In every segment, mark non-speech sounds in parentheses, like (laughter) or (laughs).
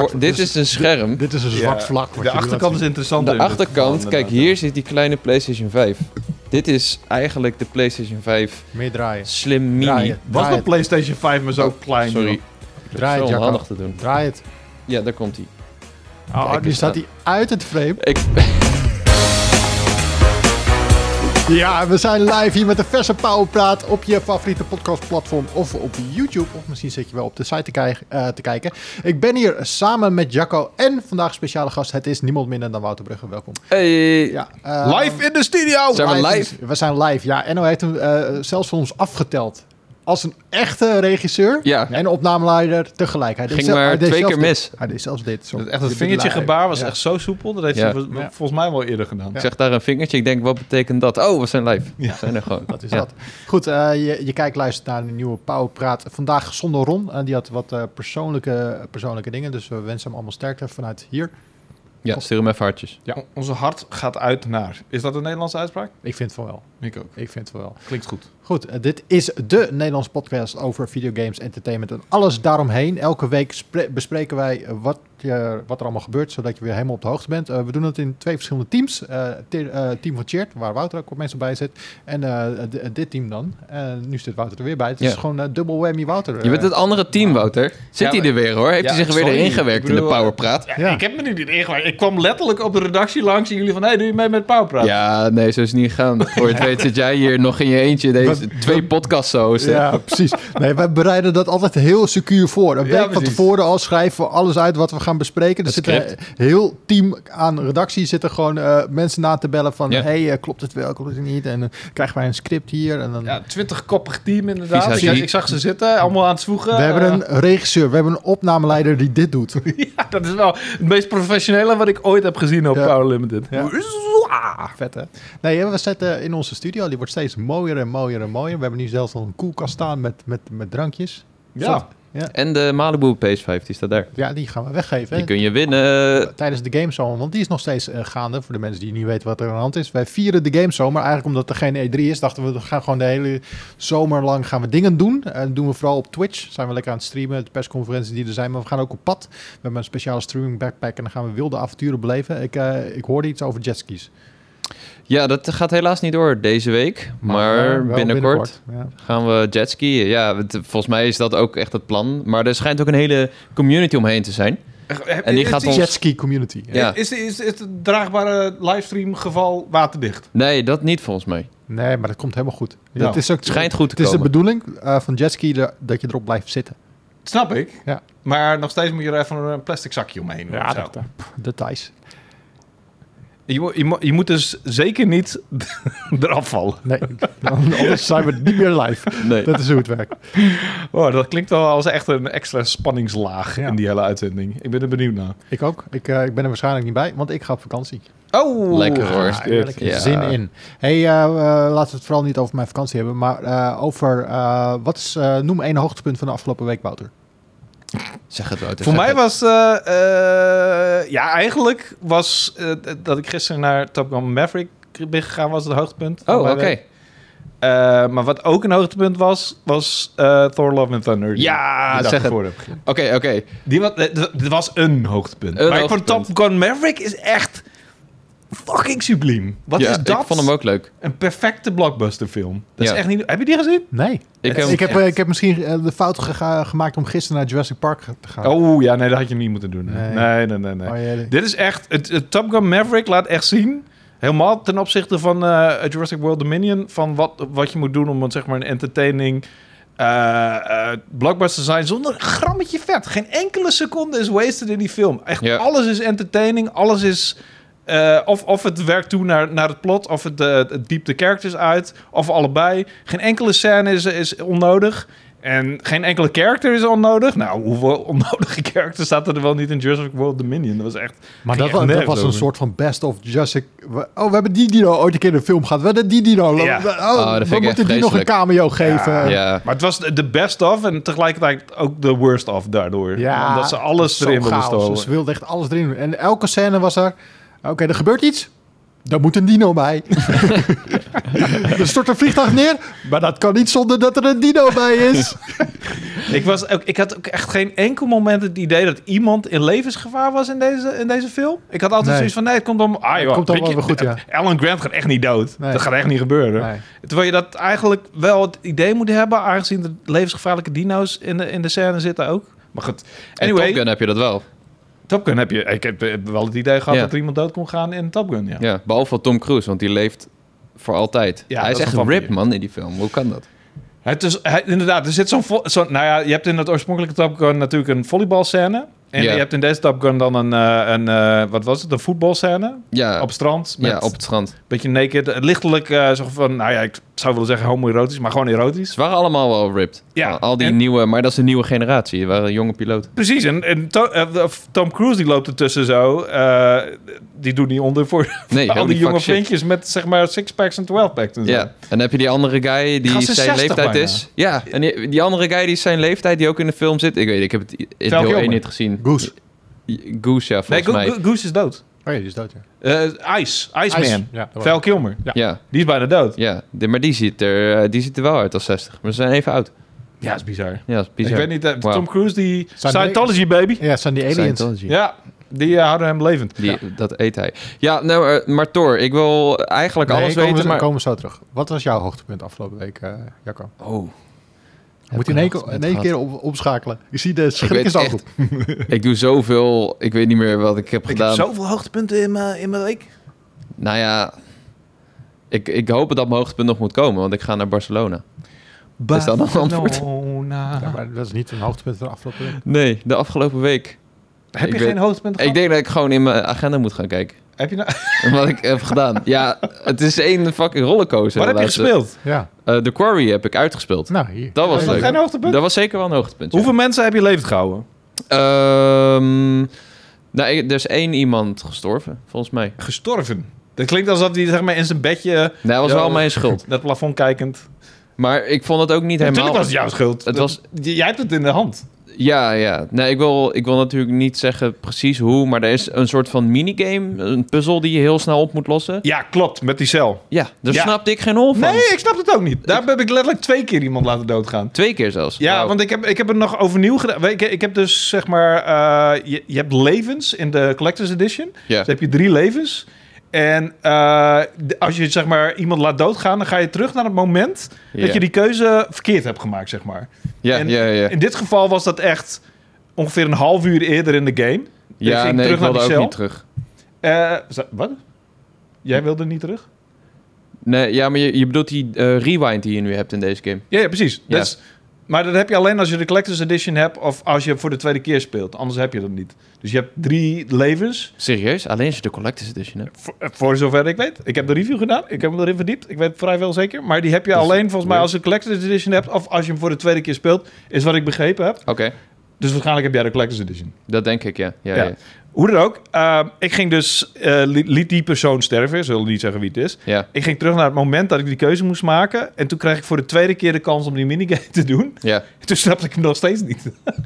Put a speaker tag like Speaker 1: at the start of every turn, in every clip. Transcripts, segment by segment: Speaker 1: Voor- dit is een scherm.
Speaker 2: dus Dit is een zwart vlak. wat
Speaker 3: De
Speaker 2: je nu laat
Speaker 3: achterkant is
Speaker 2: zien.
Speaker 3: interessant.
Speaker 1: Dus De achterkant, kijk, hier zit die kleine PlayStation 5. Dit is eigenlijk de PlayStation 5
Speaker 2: Meer draaien.
Speaker 1: Slim Mini.
Speaker 2: Draai het.
Speaker 3: Was
Speaker 2: Draai
Speaker 3: de
Speaker 2: het.
Speaker 3: PlayStation 5 maar zo klein?
Speaker 1: Sorry,
Speaker 3: joh?
Speaker 2: Draai
Speaker 1: zo
Speaker 2: het, Jacco.
Speaker 1: handig te doen.
Speaker 2: Draai het.
Speaker 3: Nou,
Speaker 1: Ja, daar komt hij.
Speaker 2: Oh,
Speaker 1: Kijk
Speaker 2: nu
Speaker 1: eens
Speaker 2: staat
Speaker 1: aan.
Speaker 2: hij uit het frame.
Speaker 1: Ik, (laughs)
Speaker 2: Ja, we zijn live hier met de verse Powerpraat op je favoriete podcastplatform of op YouTube. Of misschien zit je wel op de site te, kijk- eh, te kijken. Ik ben hier samen met Jacco en vandaag speciale gast. Het is niemand minder dan Wouter Brugge. Welkom.
Speaker 1: hey,
Speaker 2: Ja, eh,
Speaker 3: Live in de studio!
Speaker 1: Zijn we live?
Speaker 2: We zijn live, ja. Enno heeft hem eh, zelfs voor ons afgeteld. Als een echte regisseur
Speaker 1: Ja.
Speaker 2: en opnameleider tegelijk. Hij deed
Speaker 1: ging
Speaker 2: zelf- hij
Speaker 1: maar
Speaker 2: deed
Speaker 1: twee
Speaker 2: zelf
Speaker 1: keer
Speaker 2: dit.
Speaker 1: mis.
Speaker 2: Hij deed zelfs dit. Zo,
Speaker 3: Dat echt dat
Speaker 2: Dit
Speaker 3: vingertje
Speaker 2: live.
Speaker 3: gebaar was
Speaker 2: Ja.
Speaker 3: echt zo soepel. Dat heeft
Speaker 1: Ja.
Speaker 3: ze vol-
Speaker 2: Ja.
Speaker 3: volgens mij wel eerder gedaan.
Speaker 1: Ik zeg daar een vingertje, ik denk, wat betekent dat? Oh, we zijn live.
Speaker 3: Ja.
Speaker 1: We zijn er gewoon.
Speaker 2: Dat is
Speaker 1: Ja.
Speaker 2: dat. Goed, eh, je, je kijkt, luistert naar een nieuwe Pauwpraat. Vandaag zonder Ron. En die had wat eh, persoonlijke, persoonlijke dingen. Dus we wensen hem allemaal sterkte vanuit hier.
Speaker 1: Ja, stuur hem even hartjes.
Speaker 3: Ja. On- Onze hart gaat uit naar. Is dat een Nederlandse uitspraak?
Speaker 2: Ik vind van wel.
Speaker 3: Ik ook.
Speaker 2: Ik vind van wel.
Speaker 3: Klinkt goed.
Speaker 2: Goed, eh, dit is de Nederlandse podcast over videogames, entertainment en alles daaromheen. Elke week spre- bespreken wij eh, wat, je- wat er allemaal gebeurt, zodat je weer helemaal op de hoogte bent. Eh, we doen het in twee verschillende teams. Eh, te- eh, team van Cheert, waar Wouter ook op mensen bij zit. En eh, d- dit team dan. En nu zit Wouter er weer bij. Het is
Speaker 1: Ja.
Speaker 2: gewoon eh, dubbel whammy Wouter. eh,
Speaker 1: Je bent het andere team, Wouter. Zit
Speaker 3: Ja,
Speaker 1: hij
Speaker 3: maar-
Speaker 1: er weer, hoor? Heeft
Speaker 3: Ja,
Speaker 1: hij zich er weer
Speaker 3: sorry.
Speaker 1: erin gewerkt
Speaker 3: Ik
Speaker 1: in de
Speaker 3: bedoel, eh,
Speaker 1: powerpraat?
Speaker 2: Ja.
Speaker 3: Ik heb me niet ingewerkt. Ik kwam letterlijk op de redactie langs en jullie van... Hé, hey, doe je mee met Pauwpraat?
Speaker 1: Ja, nee, zo is het niet gegaan. Voor je het weet zit jij hier nog in je eentje deze
Speaker 2: Wat-
Speaker 1: twee podcasts te hosten.
Speaker 3: (laughs)
Speaker 2: Ja, precies. Nee, wij bereiden dat altijd heel secuur voor. Een week
Speaker 3: Ja,
Speaker 2: van
Speaker 3: precies.
Speaker 2: tevoren al schrijven we alles uit wat we gaan bespreken. Er
Speaker 1: Het
Speaker 2: zit een heel team aan redactie zitten gewoon eh, mensen na te bellen van...
Speaker 1: Ja.
Speaker 2: hey, eh, klopt het wel, klopt het niet? En dan krijgen wij een script hier. En dan...
Speaker 3: Ja, twintigkoppig team inderdaad.
Speaker 1: Vies
Speaker 3: Ik,
Speaker 1: uit-
Speaker 3: ik zag ze zitten, allemaal aan het zwoegen.
Speaker 2: We hebben
Speaker 3: Eh,
Speaker 2: een regisseur, we hebben een opnameleider die dit doet.
Speaker 3: (laughs) ja, dat is wel het meest professionele wat ik ooit heb gezien op
Speaker 2: Ja.
Speaker 3: Power Limited.
Speaker 2: Ja. Ah, Vet, hè? Nee, we zitten in onze studio. Die wordt steeds mooier en mooier en mooier. We hebben nu zelfs al een koelkast staan met, met, met drankjes.
Speaker 3: Ja.
Speaker 1: En de Malibu PS5, die staat daar.
Speaker 2: Ja, die gaan we weggeven. hè?
Speaker 1: Die kun je winnen.
Speaker 2: tijdens de Gameshow. Want die is nog steeds eh, gaande. Voor de mensen die niet weten wat er aan de hand is. Wij vieren de Gameshow. Maar eigenlijk omdat er geen E3 is, dachten we, we gaan gewoon de hele zomer lang gaan we dingen doen. En doen we vooral op Twitch. Zijn we lekker aan het streamen. De persconferenties die er zijn. Maar we gaan ook op pad. We hebben een speciale streaming backpack. En dan gaan we wilde avonturen beleven. Ik, eh, ik hoorde iets over jetskis.
Speaker 1: Ja, dat gaat helaas niet door deze week. Maar,
Speaker 2: eh, wel
Speaker 1: binnenkort,
Speaker 2: ja.
Speaker 1: gaan we jetskiën. Ja, het- volgens mij is dat ook echt het plan. Maar er schijnt ook een hele community omheen te zijn. En die gaat
Speaker 3: is,
Speaker 1: ons-
Speaker 2: Jetski community.
Speaker 1: Ja.
Speaker 3: is, is, is het draagbare livestream geval waterdicht?
Speaker 1: Nee, dat niet volgens mij.
Speaker 2: Nee, maar dat komt helemaal goed.
Speaker 3: Ja.
Speaker 2: Dat is ook,
Speaker 1: Het schijnt goed te
Speaker 2: het is de
Speaker 1: komen.
Speaker 2: bedoeling eh, van jetski de- dat je erop blijft zitten.
Speaker 3: Snap ik.
Speaker 2: Ja. eh.
Speaker 3: Maar nog steeds moet je er even een plastic zakje omheen doen. of zo.
Speaker 2: Details.
Speaker 3: Je, mo- je, mo- je moet dus zeker niet (laughs) eraf vallen.
Speaker 2: Nee, (laughs) anders zijn we niet meer live.
Speaker 1: Nee.
Speaker 2: Dat is hoe het werkt.
Speaker 3: Oh, dat klinkt wel als echt een extra spanningslaag
Speaker 2: Ja.
Speaker 3: in die hele uitzending. Ik ben er benieuwd naar.
Speaker 2: Ik ook. Ik, eh, ik ben er waarschijnlijk niet bij, want ik ga op vakantie.
Speaker 3: Oh,
Speaker 1: Lekker, hoor.
Speaker 2: Ah, heerlijk.
Speaker 1: Ja.
Speaker 2: Zin in. hey, eh, eh, laten we het vooral niet over mijn vakantie hebben, maar eh, over... eh, wat is, eh, noem één hoogtepunt van de afgelopen week, Wouter.
Speaker 1: Zeg het, Wouter.
Speaker 3: Voor
Speaker 1: zeg
Speaker 3: mij
Speaker 1: het.
Speaker 3: was, eh, eh, ja, eigenlijk was eh, dat ik gisteren naar Top Gun Maverick ben gegaan, was het hoogtepunt. van
Speaker 1: Oh, oké.
Speaker 3: mijn week. Eh, maar wat ook een hoogtepunt was, was eh, Thor Love and Thunder. die
Speaker 1: Ja,
Speaker 3: ik de dag
Speaker 1: zeg het.
Speaker 3: ervoor heb gezien.
Speaker 1: Oké, oké.
Speaker 3: Die was, eh, d- dit was een hoogtepunt.
Speaker 1: Een
Speaker 3: maar ik vond
Speaker 1: hoogtepunt.
Speaker 3: Top Gun Maverick is echt fucking subliem. Wat
Speaker 1: Ja,
Speaker 3: is dat?
Speaker 1: Ik vond hem ook leuk.
Speaker 3: Een perfecte blockbusterfilm. Dat
Speaker 1: Ja.
Speaker 3: is echt niet... Heb je die gezien?
Speaker 2: Nee.
Speaker 1: Ik
Speaker 2: Ik,
Speaker 1: heb,
Speaker 2: heb, eh, ik heb misschien eh, de fout gega- gemaakt om gisteren naar Jurassic Park te gaan.
Speaker 3: Oh ja, nee, dat had je niet moeten doen.
Speaker 2: Nee.
Speaker 3: Nee, nee, nee, nee. nee.
Speaker 2: Oh, jee.
Speaker 3: Dit is echt... Het, het Top Gun Maverick laat echt zien... Helemaal ten opzichte van eh, Jurassic World Dominion... van wat, wat je moet doen om een, zeg maar, een entertaining... eh, eh, blockbuster te zijn zonder een grammetje vet. Geen enkele seconde is wasted in die film. Echt
Speaker 1: Ja.
Speaker 3: alles is entertaining. Alles is... eh, of, of het werkt toe naar, naar het plot, of het, eh, het diept de characters uit, of allebei. Geen enkele scène is, is onnodig. En geen enkele character is onnodig. Nou, hoeveel (laughs) onnodige characters zaten er wel niet in Jurassic World Dominion? Dat was echt...
Speaker 2: maar
Speaker 3: ging
Speaker 2: dat,
Speaker 3: echt
Speaker 2: wa- dat
Speaker 3: nergens
Speaker 2: was een
Speaker 3: over.
Speaker 2: soort van best of Jurassic... we- Oh, we hebben die dino ooit een keer in de film gehad. We hebben die dino.
Speaker 3: Ja.
Speaker 2: Oh,
Speaker 1: dat vind ik
Speaker 2: we
Speaker 1: echt
Speaker 2: moeten die nog een
Speaker 1: vreselijk.
Speaker 2: cameo geven.
Speaker 1: ja.
Speaker 3: Maar het was de- de best of en tegelijkertijd ook de worst of daardoor.
Speaker 2: Ja,
Speaker 3: Omdat ze alles
Speaker 2: zo
Speaker 3: erin wilden
Speaker 2: chaos. Dus
Speaker 3: stoppen.
Speaker 2: Ze wilden echt alles erin doen. En elke scène was er... Oké, er gebeurt iets. Daar moet een dino (laughs) bij. (laughs) er stort een vliegtuig neer. Maar dat kan niet zonder dat er een dino bij is.
Speaker 3: Ik, was ook, ik had ook echt geen enkel moment het idee dat iemand in levensgevaar was in deze, in deze film. Ik had altijd
Speaker 2: Nee.
Speaker 3: zoiets van, nee, het komt om... Ah, joh,
Speaker 2: komt allemaal
Speaker 3: weet je,
Speaker 2: wel goed, ja.
Speaker 3: Alan Grant gaat echt niet dood.
Speaker 2: Nee.
Speaker 3: Dat gaat echt niet gebeuren.
Speaker 2: Nee.
Speaker 3: Terwijl je dat eigenlijk wel het idee moet hebben... aangezien de levensgevaarlijke dino's in de, in de scène zitten ook. Maar goed,
Speaker 1: Anyway.
Speaker 3: anyway, Top Gun,
Speaker 1: heb je dat wel.
Speaker 3: heb je... Ik heb eh, wel het idee gehad
Speaker 1: Ja.
Speaker 3: dat er iemand dood kon gaan in Top Gun, ja.
Speaker 1: Ja, behalve van Tom Cruise, want die leeft voor altijd.
Speaker 3: Ja,
Speaker 1: Hij is
Speaker 3: dat
Speaker 1: echt
Speaker 3: is een
Speaker 1: een
Speaker 3: vampier.
Speaker 1: rip, man, in die film. Hoe kan dat?
Speaker 3: Het is, hij- inderdaad, er zit zo'n... vo- zo'n- nou ja, je hebt in dat oorspronkelijke Top Gun natuurlijk een volleybalscène. En
Speaker 1: Ja.
Speaker 3: je hebt in deze Top Gun dan een, eh, een eh, wat was het, een voetbalscène.
Speaker 1: Ja,
Speaker 3: op
Speaker 1: op,
Speaker 3: het strand, met
Speaker 1: ja, op het strand.
Speaker 3: een beetje naked. eh, Lichtelijk, eh, zo van, nou ja, ik zou willen zeggen homoerotisch, maar gewoon erotisch.
Speaker 1: Ze waren allemaal wel ripped.
Speaker 3: Ja,
Speaker 1: Al- al die
Speaker 3: en-
Speaker 1: nieuwe, maar dat is de nieuwe generatie. Er waren jonge piloten.
Speaker 3: Precies, en, en To- eh, of Tom Cruise die loopt ertussen zo. eh, die doet niet onder
Speaker 1: (laughs)
Speaker 3: voor
Speaker 1: Nee,
Speaker 3: al
Speaker 1: helemaal
Speaker 3: die
Speaker 1: niet
Speaker 3: jonge
Speaker 1: fuck shit.
Speaker 3: vriendjes met zeg maar sixpacks en twelvepacks en zo.
Speaker 1: Ja, en dan heb je die andere guy die
Speaker 3: Gast is
Speaker 1: zijn
Speaker 3: 60
Speaker 1: leeftijd
Speaker 3: bijna.
Speaker 1: is. Ja, en die, die andere guy die is zijn leeftijd, die ook in de film zit. Ik weet ik heb het in
Speaker 3: Val
Speaker 1: deel 1
Speaker 3: Kilmer.
Speaker 1: niet gezien.
Speaker 2: Goose.
Speaker 1: Goose, ja,
Speaker 3: Nee,
Speaker 1: volgens
Speaker 3: Go-
Speaker 1: mij.
Speaker 3: Go- Goose is dood.
Speaker 2: Oh ja, die is dood, ja.
Speaker 3: Eh Ice, Iceman.
Speaker 2: Ice, Ja, dat
Speaker 3: Val Kilmer,
Speaker 2: Ja.
Speaker 1: Ja,
Speaker 3: die is bijna dood.
Speaker 1: ja. De- maar die ziet, er, eh, die ziet er wel uit als 60. Maar ze zijn even oud.
Speaker 3: Ja, is bizar.
Speaker 1: Ja, dat is bizar.
Speaker 3: Ik weet niet, eh,
Speaker 1: Wauw.
Speaker 3: Tom Cruise die
Speaker 2: Zijn
Speaker 3: Scientology baby.
Speaker 2: was- ja, het zijn die aliens.
Speaker 1: Scientology.
Speaker 3: Ja, die eh, houden hem levend.
Speaker 1: Die, Dat eet hij. Ja, nou, eh, maar Thor, ik wil eigenlijk
Speaker 2: Nee,
Speaker 1: alles
Speaker 2: komen,
Speaker 1: weten,
Speaker 2: we,
Speaker 1: maar...
Speaker 2: komen we zo terug. Wat was jouw hoogtepunt afgelopen week, eh Jacco?
Speaker 1: Oh.
Speaker 2: Moet je in één, keer- in één keer op, opschakelen. Ik zie de
Speaker 1: Ik
Speaker 2: schrik
Speaker 1: weet
Speaker 2: is al goed.
Speaker 1: echt... ik doe zoveel... Ik weet niet meer wat ik heb
Speaker 3: Ik
Speaker 1: gedaan.
Speaker 3: heb zoveel hoogtepunten in mijn, in mijn week.
Speaker 1: Nou ja... Ik, ik hoop dat mijn hoogtepunt nog moet komen, want ik ga naar Barcelona. Is dat een antwoord?
Speaker 3: Barcelona.
Speaker 2: Ja, maar dat is niet een hoogtepunt van de afgelopen week.
Speaker 1: Nee, de afgelopen week.
Speaker 3: (laughs) Heb
Speaker 1: Ik
Speaker 3: je
Speaker 1: weet-
Speaker 3: geen hoogtepunt
Speaker 1: Ik
Speaker 3: gehad?
Speaker 1: denk dat ik gewoon in mijn agenda moet gaan kijken.
Speaker 3: Heb je nou...
Speaker 1: Wat ik heb gedaan. Ja, het is één fucking rollercoaster.
Speaker 3: Wat heb
Speaker 1: de
Speaker 3: je
Speaker 1: laatste-
Speaker 3: gespeeld?
Speaker 2: Ja,
Speaker 1: Eh, The Quarry heb ik uitgespeeld.
Speaker 2: nou hier.
Speaker 1: Dat was
Speaker 3: Is
Speaker 2: Hey,
Speaker 3: dat
Speaker 1: leuk.
Speaker 3: geen hoogtepunt?
Speaker 1: Dat was zeker wel een hoogtepunt. ja.
Speaker 3: Hoeveel mensen heb je levend gehouden?
Speaker 1: Ehm, nou, ik- er is één iemand gestorven, volgens mij.
Speaker 3: Gestorven. Dat klinkt alsof hij zeg maar, in zijn bedje eh,
Speaker 1: Nou, dat was
Speaker 3: Ja.
Speaker 1: wel mijn schuld.
Speaker 3: naar het plafond kijkend.
Speaker 1: Maar ik vond het ook niet helemaal...
Speaker 3: Natuurlijk was het jouw schuld.
Speaker 1: Het was-
Speaker 3: Dat- J- Jij hebt het in de hand.
Speaker 1: Ja, ja. Nee, ik wil, ik wil natuurlijk niet zeggen precies hoe, maar er is een soort van minigame, een puzzel die je heel snel op moet lossen.
Speaker 3: Ja, klopt. Met die cel.
Speaker 1: Ja, daar
Speaker 3: Ja.
Speaker 1: snapte ik geen hol van.
Speaker 3: Nee, ik snap het ook niet. Daar heb ik letterlijk twee keer iemand laten doodgaan.
Speaker 1: Twee keer zelfs.
Speaker 3: Ja,
Speaker 1: Wauw.
Speaker 3: want ik heb, ik heb het nog overnieuw gedaan. Ik, ik heb dus zeg maar... eh, je, je hebt levens in de Collector's Edition.
Speaker 1: Ja.
Speaker 3: Dus heb je drie levens. En eh, d- als je zeg maar, iemand laat doodgaan, dan ga je terug naar het moment
Speaker 1: Ja.
Speaker 3: dat je die keuze verkeerd hebt gemaakt, zeg maar.
Speaker 1: Ja,
Speaker 3: en-
Speaker 1: ja, ja.
Speaker 3: In dit geval was dat echt ongeveer een half uur eerder in de game.
Speaker 1: Ja,
Speaker 3: ging
Speaker 1: nee,
Speaker 3: terug
Speaker 1: ik wilde
Speaker 3: naar
Speaker 1: ook
Speaker 3: die cel.
Speaker 1: niet terug.
Speaker 3: Eh, za- wat? Jij wilde niet terug?
Speaker 1: Nee, ja, maar je, je bedoelt die eh, rewind die je nu hebt in deze game.
Speaker 3: Ja, ja precies.
Speaker 1: Ja.
Speaker 3: Dat is- maar dat heb je alleen als je de Collector's Edition hebt of als je voor de tweede keer speelt. Anders heb je dat niet. Dus je hebt drie levens,
Speaker 1: Serieus? Alleen als je de Collector's Edition hebt.
Speaker 3: voor, eh, voor zover ik weet. Ik heb de review gedaan, ik heb hem erin verdiept. Ik weet het vrijwel zeker. Maar die heb je
Speaker 1: Dat is
Speaker 3: alleen volgens mij
Speaker 1: weird.
Speaker 3: als je de Collector's Edition hebt of als je hem voor de tweede keer speelt. Is wat ik begrepen heb.
Speaker 1: Oké,
Speaker 3: Dus waarschijnlijk heb jij de Collector's Edition.
Speaker 1: dat denk ik, ja. Ja, ja.
Speaker 3: Ja. Hoe dan ook, eh, ik ging dus, eh, li- liet die persoon sterven, zullen niet zeggen wie het is.
Speaker 1: ja.
Speaker 3: Ik ging terug naar het moment dat ik die keuze moest maken. En toen kreeg ik voor de tweede keer de kans om die minigame (laughs) te doen.
Speaker 1: ja.
Speaker 3: En toen snapte ik hem nog steeds niet. (laughs) dus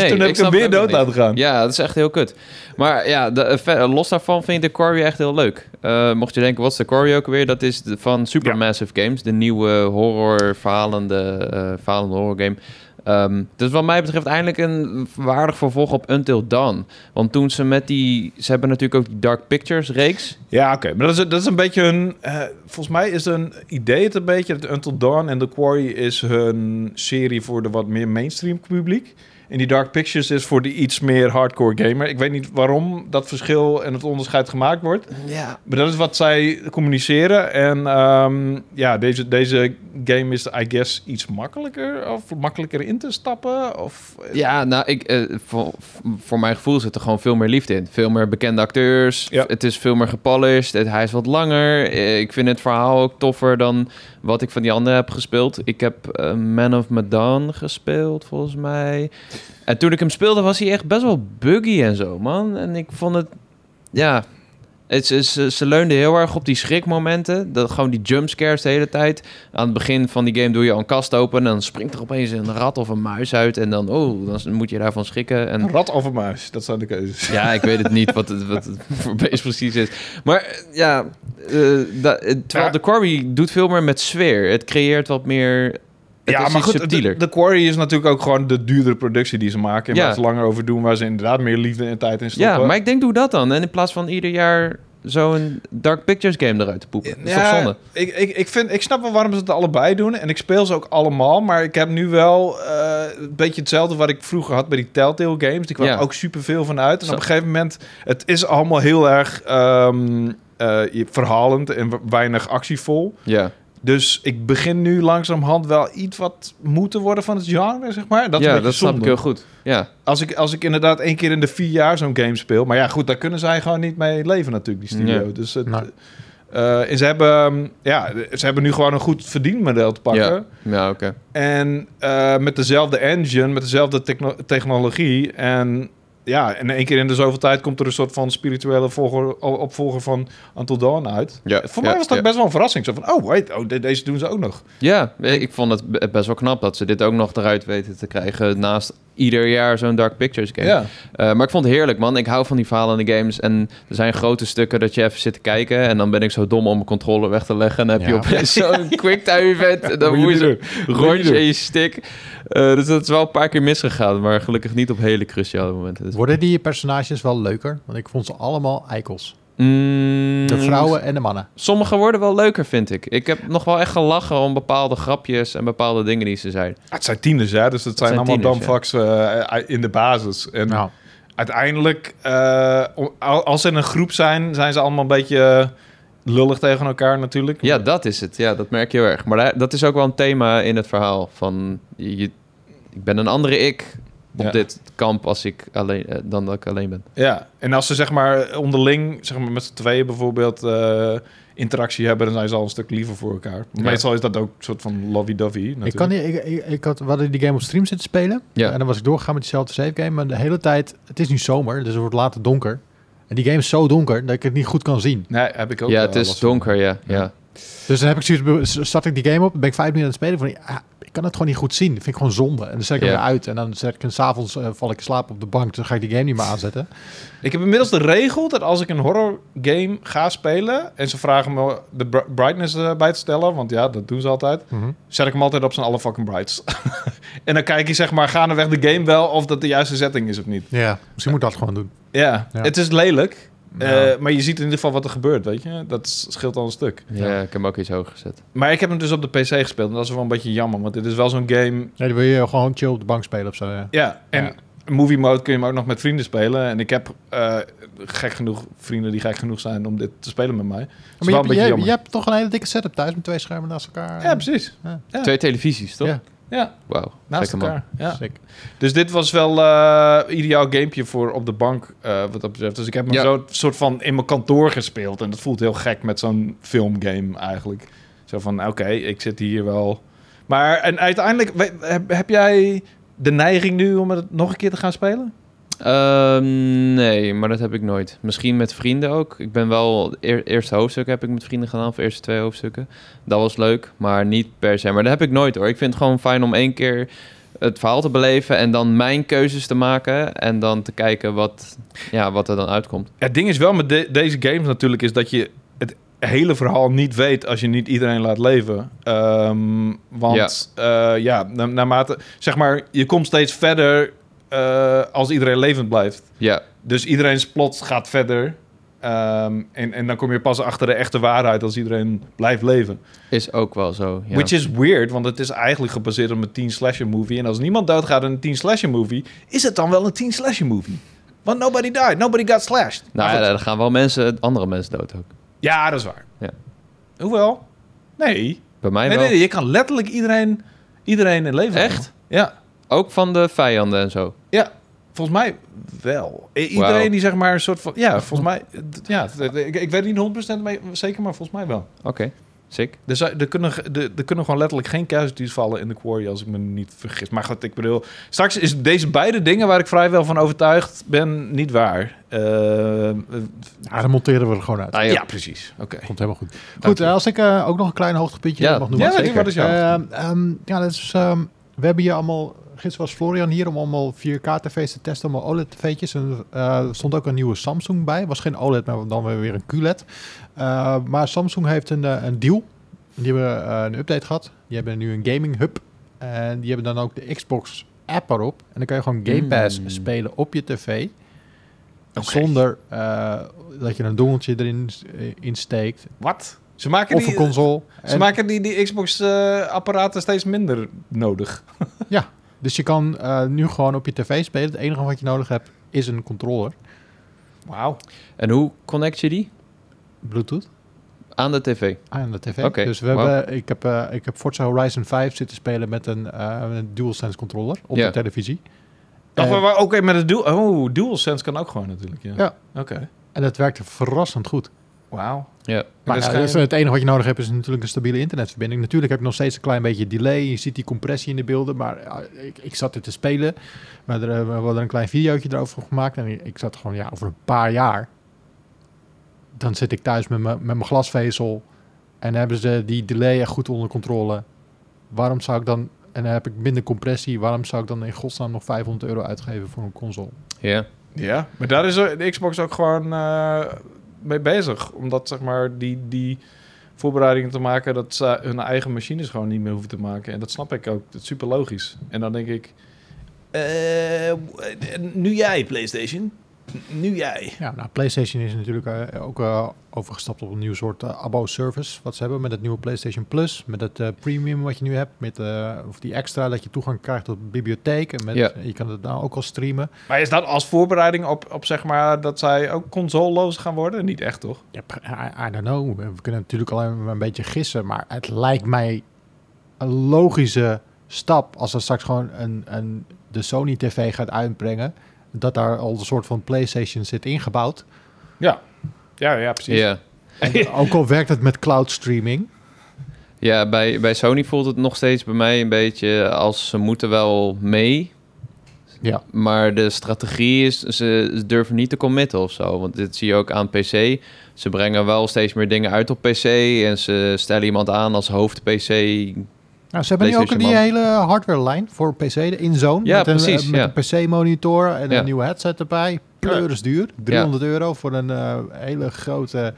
Speaker 1: Nee,
Speaker 3: toen heb
Speaker 1: ik
Speaker 3: ik, hem
Speaker 1: snap
Speaker 3: weer
Speaker 1: het ook
Speaker 3: dood
Speaker 1: niet.
Speaker 3: laten gaan.
Speaker 1: Ja, dat is echt heel kut. Maar ja, de, eh, ver- los daarvan vind ik de Quarry echt heel leuk. Eh, mocht je denken, wat is de Quarry ook weer? Dat is de- van Supermassive Games, de nieuwe horror verhalende, eh, verhalende horror game. Ehm, dus wat mij betreft eindelijk een waardig vervolg op Until Dawn. Want toen ze met die... Ze hebben natuurlijk ook die Dark Pictures reeks.
Speaker 3: Ja, oké. Maar dat is, dat is een beetje hun... eh, volgens mij is hun idee het een beetje... dat Until Dawn en The Quarry is hun serie voor de wat meer mainstream publiek. En die Dark Pictures is voor de iets meer hardcore gamer. Ik weet niet waarom dat verschil en het onderscheid gemaakt wordt.
Speaker 1: Ja.
Speaker 3: Maar dat is wat zij communiceren. En ehm, ja, deze, deze game is, I guess, iets makkelijker. Of makkelijker in te stappen. Of,
Speaker 1: Ja, nou, ik, eh, voor, voor mijn gevoel zit er gewoon veel meer liefde in. Veel meer bekende acteurs.
Speaker 3: Ja.
Speaker 1: Het is veel meer gepolished. Het, hij is wat langer. Eh, Ik vind het verhaal ook toffer dan wat ik van die anderen heb gespeeld. Ik heb eh, Man of Medan gespeeld, volgens mij. En toen ik hem speelde, was hij echt best wel buggy en zo, man. En ik vond het... Ja... Het, ze, ze, ze leunde heel erg op die schrikmomenten. Dat, gewoon die jumpscares de hele tijd aan het begin van die game doe je al een kast open... en dan springt er opeens een rat of een muis uit... en dan, oh, dan s- moet je daarvan schrikken.
Speaker 3: Een
Speaker 1: En,
Speaker 3: rat of een muis, dat zijn de
Speaker 1: (laughs)
Speaker 3: keuzes.
Speaker 1: ja, ik weet het niet wat het, wat het voor beest precies is. Maar eh, ja, eh, da- eh, terwijl
Speaker 3: Ja.
Speaker 1: de Quarry doet veel meer met sfeer. Het creëert wat meer Het
Speaker 3: ja,
Speaker 1: is
Speaker 3: maar
Speaker 1: iets
Speaker 3: goed,
Speaker 1: subtieler.
Speaker 3: de, de Quarry is natuurlijk ook gewoon de duurdere productie die ze maken. En
Speaker 1: Ja.
Speaker 3: waar ze langer over doen, waar ze inderdaad meer liefde en tijd in stoppen.
Speaker 1: ja, maar ik denk doe dat dan. En in plaats van ieder jaar zo'n Dark Pictures game eruit te poepen. Dat is toch zonde?
Speaker 3: Ik, ik, ik, vind, ik snap wel waarom ze het allebei doen. En ik speel ze ook allemaal. Maar ik heb nu wel eh, een beetje hetzelfde wat ik vroeger had bij die Telltale games. Die kwam
Speaker 1: Ja.
Speaker 3: ook superveel van uit. En
Speaker 1: Zo.
Speaker 3: op een gegeven moment, het is allemaal heel erg ehm, eh, je- verhalend en we- weinig actievol.
Speaker 1: Ja.
Speaker 3: Dus ik begin nu langzamerhand wel iets wat moe te worden van het genre, zeg maar. Dat is
Speaker 1: ja,
Speaker 3: een beetje
Speaker 1: dat snap ik
Speaker 3: zonde.
Speaker 1: heel goed. Ja.
Speaker 3: Als ik, als ik inderdaad één keer in de vier jaar zo'n game speel. Maar ja, goed, daar kunnen zij gewoon niet mee leven natuurlijk, die studio.
Speaker 1: Nee.
Speaker 3: Dus het,
Speaker 2: Nee.
Speaker 3: eh, en ze, hebben, ehm, ja, ze hebben nu gewoon een goed verdienmodel te pakken.
Speaker 1: Ja, ja oké.
Speaker 3: En eh, met dezelfde engine, met dezelfde techno- technologie. En ja, en één keer in de zoveel tijd komt er een soort van spirituele volger, o- opvolger van Until Dawn uit.
Speaker 1: Ja,
Speaker 3: Voor
Speaker 1: ja,
Speaker 3: mij was dat
Speaker 1: ja.
Speaker 3: best wel een verrassing. Zo van, oh, wait, oh, de- deze doen ze ook nog.
Speaker 1: Ja, ik ik vond het be- best wel knap dat ze dit ook nog eruit weten te krijgen naast ieder jaar zo'n Dark Pictures game.
Speaker 3: Ja.
Speaker 1: Eh, maar ik vond het heerlijk, man. Ik hou van die verhalende games. En er zijn grote stukken dat je even zit te kijken. En dan ben ik zo dom om mijn controller weg te leggen. En dan heb je
Speaker 2: Ja.
Speaker 1: opeens (laughs) zo'n quicktime event. En dan
Speaker 3: Moet je
Speaker 1: moet je
Speaker 3: niet
Speaker 1: zo rondje in je stick. Eh, dus dat is wel een paar keer misgegaan. Maar gelukkig niet op hele cruciale momenten. Dus-
Speaker 2: Worden die personages wel leuker? Want ik vond ze allemaal eikels.
Speaker 1: Mm,
Speaker 2: De vrouwen en de mannen.
Speaker 1: Sommige worden wel leuker, vind ik. Ik heb nog wel echt gelachen om bepaalde grapjes en bepaalde dingen die ze zeiden.
Speaker 3: Ah, het zijn tieners, hè? Dus het zijn,
Speaker 1: zijn
Speaker 3: allemaal
Speaker 1: tieners,
Speaker 3: dumbfucks eh, in de basis. En
Speaker 2: Nou,
Speaker 3: uiteindelijk, eh, om- al- als ze in een groep zijn, zijn ze allemaal een beetje eh, lullig tegen elkaar natuurlijk.
Speaker 1: Ja, dat is het. Ja, dat merk je heel erg. Maar daar- dat is ook wel een thema in het verhaal. Van, je, je- ik ben een andere ik op
Speaker 3: Ja.
Speaker 1: dit kamp als ik alleen, eh, dan dat ik alleen ben.
Speaker 3: Ja, en als ze zeg maar onderling, zeg maar met z'n tweeën bijvoorbeeld, eh, interactie hebben, dan zijn ze al een stuk liever voor elkaar.
Speaker 1: Ja.
Speaker 3: Meestal is dat ook een soort van lovey-dovey.
Speaker 2: ik
Speaker 3: natuurlijk.
Speaker 2: kan niet, ik, ik, ik had, we hadden die game op stream zitten spelen.
Speaker 1: Ja.
Speaker 2: En dan was ik doorgegaan met diezelfde save game. Maar de hele tijd, het is nu zomer, dus het wordt later donker. En die game is zo donker dat ik het niet goed kan zien.
Speaker 3: Nee, heb ik ook.
Speaker 1: ja,
Speaker 3: eh,
Speaker 1: het is
Speaker 3: last van.
Speaker 1: donker, ja.
Speaker 3: Ja.
Speaker 1: ja.
Speaker 2: Dus dan heb ik zoiets, be- start ik die game op, ben ik vijf minuten aan het spelen. Van, ah, ik kan het gewoon niet goed zien. Dat vind ik gewoon zonde. En dan zet ik hem
Speaker 1: Ja.
Speaker 2: weer uit. En dan zet ik hem s'avonds, eh val ik in slaap op de bank. Dan ga ik die game niet meer aanzetten.
Speaker 3: Ik heb inmiddels de regel dat als ik een horror game ga spelen en ze vragen me de br- brightness eh, bij te stellen, want ja, dat doen ze altijd. zet ik hem altijd op zijn alle fucking brights. (laughs) en dan kijk je zeg maar gaandeweg de game wel of dat de juiste setting is of niet.
Speaker 2: Ja, misschien moet ik dat gewoon doen.
Speaker 3: Ja,
Speaker 2: Ja.
Speaker 3: het is lelijk.
Speaker 2: Ja.
Speaker 3: eh, maar je ziet in ieder geval wat er gebeurt, weet je. Dat s- scheelt al een stuk.
Speaker 1: Ja, ik heb hem ook iets hoger gezet.
Speaker 3: Maar ik heb hem dus op de PC gespeeld. En dat is wel een beetje jammer, want dit is wel zo'n game...
Speaker 2: Nee, dan wil je gewoon chill op de bank spelen of zo. Ja.
Speaker 3: Ja, en
Speaker 2: Ja.
Speaker 3: movie mode kun je hem ook nog met vrienden spelen. En ik heb eh, gek genoeg vrienden die gek genoeg zijn om dit te spelen met mij. Dat is
Speaker 2: Maar
Speaker 3: wel
Speaker 2: je,
Speaker 3: een
Speaker 2: hebt-
Speaker 3: beetje
Speaker 2: je,
Speaker 3: jammer.
Speaker 2: je hebt toch een hele dikke setup thuis met twee schermen naast elkaar.
Speaker 3: ja, precies. Ja.
Speaker 1: Twee televisies, toch?
Speaker 2: Ja.
Speaker 3: Ja,
Speaker 1: Wauw,
Speaker 3: naast
Speaker 1: gekke man.
Speaker 3: elkaar. Ja.
Speaker 2: Sick.
Speaker 3: Dus dit was wel eh ideaal gamepje voor op de bank, eh, wat dat betreft. Dus ik heb hem
Speaker 1: Ja.
Speaker 3: zo soort van in mijn kantoor gespeeld. En dat voelt heel gek met zo'n filmgame eigenlijk. Zo van, oké, ik zit hier wel. Maar en uiteindelijk, we- heb, heb jij de neiging nu om het nog een keer te gaan spelen?
Speaker 1: Ehm, nee, maar dat heb ik nooit. Misschien met vrienden ook. Ik ben wel... Eer, eerste hoofdstuk heb ik met vrienden gedaan, of eerste twee hoofdstukken. Dat was leuk, maar niet per se. Maar dat heb ik nooit hoor. Ik vind het gewoon fijn om één keer het verhaal te beleven... en dan mijn keuzes te maken en dan te kijken wat, ja, wat er dan uitkomt.
Speaker 3: Het ding is wel met de- deze games natuurlijk, is dat je het hele verhaal niet weet als je niet iedereen laat leven. Ehm, want ja, ja na- naarmate, zeg maar, je komt steeds verder eh, als iedereen levend blijft.
Speaker 1: Ja,
Speaker 3: Dus iedereen's plot gaat verder. Ehm, en, en dan kom je pas achter de echte waarheid als iedereen blijft leven.
Speaker 1: is ook wel zo. Ja.
Speaker 3: Which is weird, want het is eigenlijk gebaseerd op een teen slasher movie. En als niemand doodgaat in een teen slasher movie, is het dan wel een teen slasher movie? Want nobody died, nobody got slashed. Maar
Speaker 1: Nou ja,
Speaker 3: Ah, goed.
Speaker 1: er gaan wel mensen, andere mensen dood ook.
Speaker 3: ja, dat is waar.
Speaker 1: Ja.
Speaker 3: Hoewel, nee.
Speaker 1: Bij mij
Speaker 3: Nee,
Speaker 1: wel.
Speaker 3: nee, nee, je kan letterlijk iedereen, iedereen in leven
Speaker 1: Echt?
Speaker 3: houden. Ja.
Speaker 1: Ook van de vijanden en zo.
Speaker 3: Ja, volgens mij wel. I-
Speaker 1: Wauw. Hm.
Speaker 3: Iedereen die zeg maar een soort van... Ja, volgens mij... d- Ja, d- d- ik, ik weet niet 100% mee, zeker, maar volgens mij wel.
Speaker 1: Oké, sick.
Speaker 3: Er, zou- er, kunnen, ge- er, er kunnen gewoon letterlijk geen casualties vallen in de quarry, als ik me niet vergis. Maar goed, ik bedoel... Straks is deze beide dingen waar ik vrijwel van overtuigd ben niet waar. Eh, eh,
Speaker 2: Ja, Nou, dan monteren we er gewoon uit.
Speaker 1: Ah,
Speaker 3: ja, precies. Oké.
Speaker 2: Komt helemaal goed.
Speaker 3: Dank
Speaker 2: Goed,
Speaker 3: je.
Speaker 2: eh, als ik eh, ook nog een klein hoogtepuntje
Speaker 1: Ja.
Speaker 2: mag
Speaker 3: Ja,
Speaker 2: noemen.
Speaker 3: wat-
Speaker 1: zeker.
Speaker 3: wat is jouw...
Speaker 2: Ehm, ehm, ja, dat is, ehm, we hebben hier allemaal... Gisteren was Florian hier om allemaal 4K-tv's te testen, allemaal E OLED-tv'tjes. En eh, er stond ook een nieuwe Samsung bij. Was geen OLED, maar dan weer een QLED. Eh, maar Samsung heeft een, eh, een deal. Die hebben eh, een update gehad. Die hebben nu een gaming hub. En die hebben dan ook de Xbox app erop. En dan kan je gewoon Game Pass
Speaker 1: Mm.
Speaker 2: spelen op je tv.
Speaker 3: Oké.
Speaker 2: Zonder eh, dat je een dongeltje erin eh, insteekt.
Speaker 3: Wat? Ze maken
Speaker 2: Of een
Speaker 3: die,
Speaker 2: console.
Speaker 3: ze
Speaker 2: En-
Speaker 3: maken die, die Xbox-apparaten steeds minder nodig.
Speaker 2: Dus je kan eh, nu gewoon op je tv spelen. Het enige wat je nodig hebt is een controller.
Speaker 3: Wauw.
Speaker 1: En hoe connect je die?
Speaker 2: Bluetooth
Speaker 1: Aan de tv.
Speaker 2: aan de tv.
Speaker 1: Oké,
Speaker 2: Dus we
Speaker 1: wauw.
Speaker 2: hebben, ik, heb, eh, ik heb Forza Horizon 5 zitten spelen met een, eh, een DualSense controller op
Speaker 1: Ja.
Speaker 2: de televisie.
Speaker 3: Dacht
Speaker 2: Eh,
Speaker 3: maar, maar oké, met het dual... Oh, DualSense kan ook gewoon natuurlijk, ja.
Speaker 2: Ja.
Speaker 3: Oké.
Speaker 2: En dat werkte verrassend goed.
Speaker 3: Wauw.
Speaker 1: Ja.
Speaker 2: Maar
Speaker 3: Dat is
Speaker 2: ja,
Speaker 3: geen-
Speaker 2: dus het enige wat je nodig hebt is natuurlijk een stabiele internetverbinding. Natuurlijk heb je nog steeds een klein beetje delay. Je ziet die compressie in de beelden. Maar ja, ik, ik zat dit te spelen. Maar er, eh, we hadden een klein videootje erover gemaakt. En ik zat gewoon, ja, over een paar jaar. Dan zit ik thuis met mijn met mijn glasvezel. En hebben ze die delay echt goed onder controle. Waarom zou ik dan... En dan heb ik minder compressie. Waarom zou ik dan in godsnaam nog 500 euro uitgeven voor een console?
Speaker 1: Ja.
Speaker 3: Ja, maar daar is eh, de Xbox ook gewoon eh, mee bezig. Omdat zeg maar die, die voorbereidingen te maken dat ze hun eigen machines gewoon niet meer hoeven te maken. En dat snap ik ook. Dat is super logisch. En dan denk ik. eh, nu jij, PlayStation. Nu jij.
Speaker 2: Ja, nou, PlayStation is natuurlijk eh, ook eh, overgestapt op een nieuw soort eh, abo-service. Wat ze hebben met het nieuwe PlayStation Plus. Met het eh, premium wat je nu hebt. Met eh, of die extra dat je toegang krijgt tot de bibliotheek. En met,
Speaker 1: Ja.
Speaker 2: je kan het nou ook al streamen.
Speaker 3: Maar is dat als voorbereiding op, op zeg maar dat zij ook consoleloos gaan worden? Niet echt, toch?
Speaker 2: Ja, p- I, I don't know. We kunnen natuurlijk alleen maar een beetje gissen. Maar het lijkt mij een logische stap. Als er straks gewoon een, een, de Sony TV gaat uitbrengen. Dat daar al een soort van PlayStation zit ingebouwd.
Speaker 3: Ja, ja, precies.
Speaker 1: Ja.
Speaker 2: En ook al werkt het met cloud streaming.
Speaker 1: Ja, bij, bij Sony voelt het nog steeds bij mij een beetje als ze moeten wel mee.
Speaker 2: Ja.
Speaker 1: Maar de strategie is, ze ze durven niet te committen of zo. Want dit zie je ook aan PC. Ze brengen wel steeds meer dingen uit op PC. En ze stellen iemand aan als hoofd-PC.
Speaker 2: Nou, ze hebben nu ook die
Speaker 1: PlayStation
Speaker 2: hele hardware-lijn voor PC, de InZone.
Speaker 1: Ja,
Speaker 2: met een,
Speaker 1: precies,
Speaker 2: eh, Met
Speaker 1: ja.
Speaker 2: een PC-monitor en
Speaker 1: Ja.
Speaker 2: een nieuwe headset erbij. Pleuris duur. 300 euro voor een eh, hele grote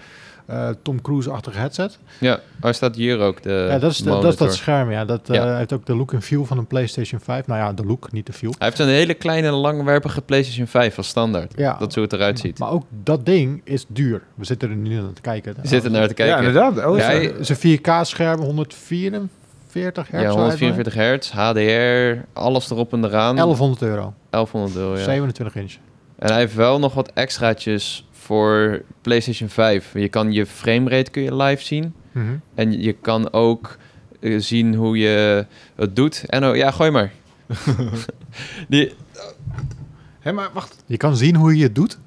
Speaker 2: eh, Tom Cruise-achtige headset.
Speaker 1: Ja, waar staat hier ook de
Speaker 2: ja, dat, is de- dat is
Speaker 1: Eh, monitor?
Speaker 2: dat scherm, ja. Dat eh,
Speaker 1: Ja.
Speaker 2: heeft ook de look en feel van een PlayStation 5. Nou ja, de look, niet de feel.
Speaker 1: Hij heeft een hele kleine, langwerpige PlayStation 5 als standaard.
Speaker 2: Ja,
Speaker 1: Dat is hoe het eruit ziet.
Speaker 2: maar ook dat ding is duur. We zitten er nu naar te kijken.
Speaker 1: Je zit er naar te kijken.
Speaker 3: Ja, inderdaad. Oh, is
Speaker 1: Ja,
Speaker 3: dat-
Speaker 1: hij-
Speaker 2: Het is een 4K-scherm, 144 hertz.
Speaker 1: Ja, 144 hertz, HDR, alles erop en eraan.
Speaker 2: 1100 euro,
Speaker 1: 1100 euro, Oh ja.
Speaker 2: 27 inch.
Speaker 1: En hij heeft wel nog wat extraatjes voor PlayStation 5. Je kan je framerate kun je live zien.
Speaker 2: Mhm.
Speaker 1: En je kan ook eh, zien hoe je het doet. En oh, ja, gooi maar. Die,
Speaker 3: Hé, maar wacht.
Speaker 2: Je kan zien hoe je het doet.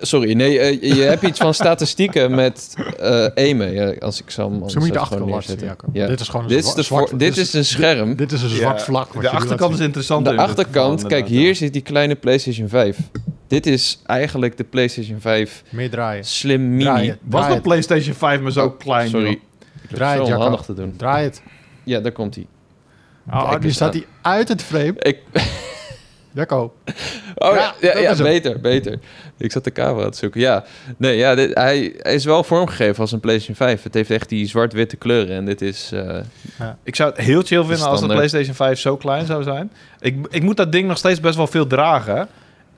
Speaker 1: sorry, nee, eh, je hebt iets (laughs) van statistieken met eh aimen. Ja, als ik zo hem anders
Speaker 2: Zo moet je de achterkant
Speaker 1: even gewoon
Speaker 2: laten zien,
Speaker 1: neerzetten.
Speaker 2: Jacob. Dit is gewoon een
Speaker 1: Dit is,
Speaker 2: zwa-
Speaker 1: de
Speaker 2: zwart-
Speaker 1: voor- dit is een scherm.
Speaker 2: Dit is een zwart vlak. wat je
Speaker 3: De
Speaker 2: nu
Speaker 3: achterkant is
Speaker 2: laat
Speaker 3: interessant.
Speaker 1: de
Speaker 3: in dit
Speaker 1: achterkant,
Speaker 3: geval,
Speaker 1: kijk,
Speaker 3: inderdaad,
Speaker 1: hier zit die kleine PlayStation 5. Dit is eigenlijk de PlayStation 5
Speaker 2: zien. Meer draaien.
Speaker 1: Slim Mini. Oh,
Speaker 2: Draai het.
Speaker 3: ja. Was
Speaker 2: Draai
Speaker 3: de
Speaker 2: het.
Speaker 3: PlayStation 5 maar zo klein?
Speaker 1: Sorry,
Speaker 3: joh?
Speaker 1: ik heb
Speaker 2: Draai
Speaker 1: zo
Speaker 2: het,
Speaker 1: onhandig
Speaker 2: Jacco.
Speaker 1: te doen.
Speaker 2: Draai het.
Speaker 1: Ja, daar komt hij.
Speaker 3: Oh,
Speaker 2: Kijk, nu
Speaker 1: eens
Speaker 2: staat
Speaker 1: aan.
Speaker 2: hij uit het frame.
Speaker 1: Ik,
Speaker 2: Jacco. Ja,
Speaker 1: oh ja, ja,
Speaker 2: dat
Speaker 1: ja,
Speaker 2: is hem.
Speaker 1: beter, beter. Ik zat de camera te zoeken. Ja, nee, ja, dit, hij, hij is wel vormgegeven als een PlayStation 5. Het heeft echt die zwart-witte kleuren en dit is... eh,
Speaker 3: Ik zou het heel chill vinden als de
Speaker 1: Standaard.
Speaker 3: PlayStation 5 zo klein zou zijn. Ik, ik moet dat ding nog steeds best wel veel dragen.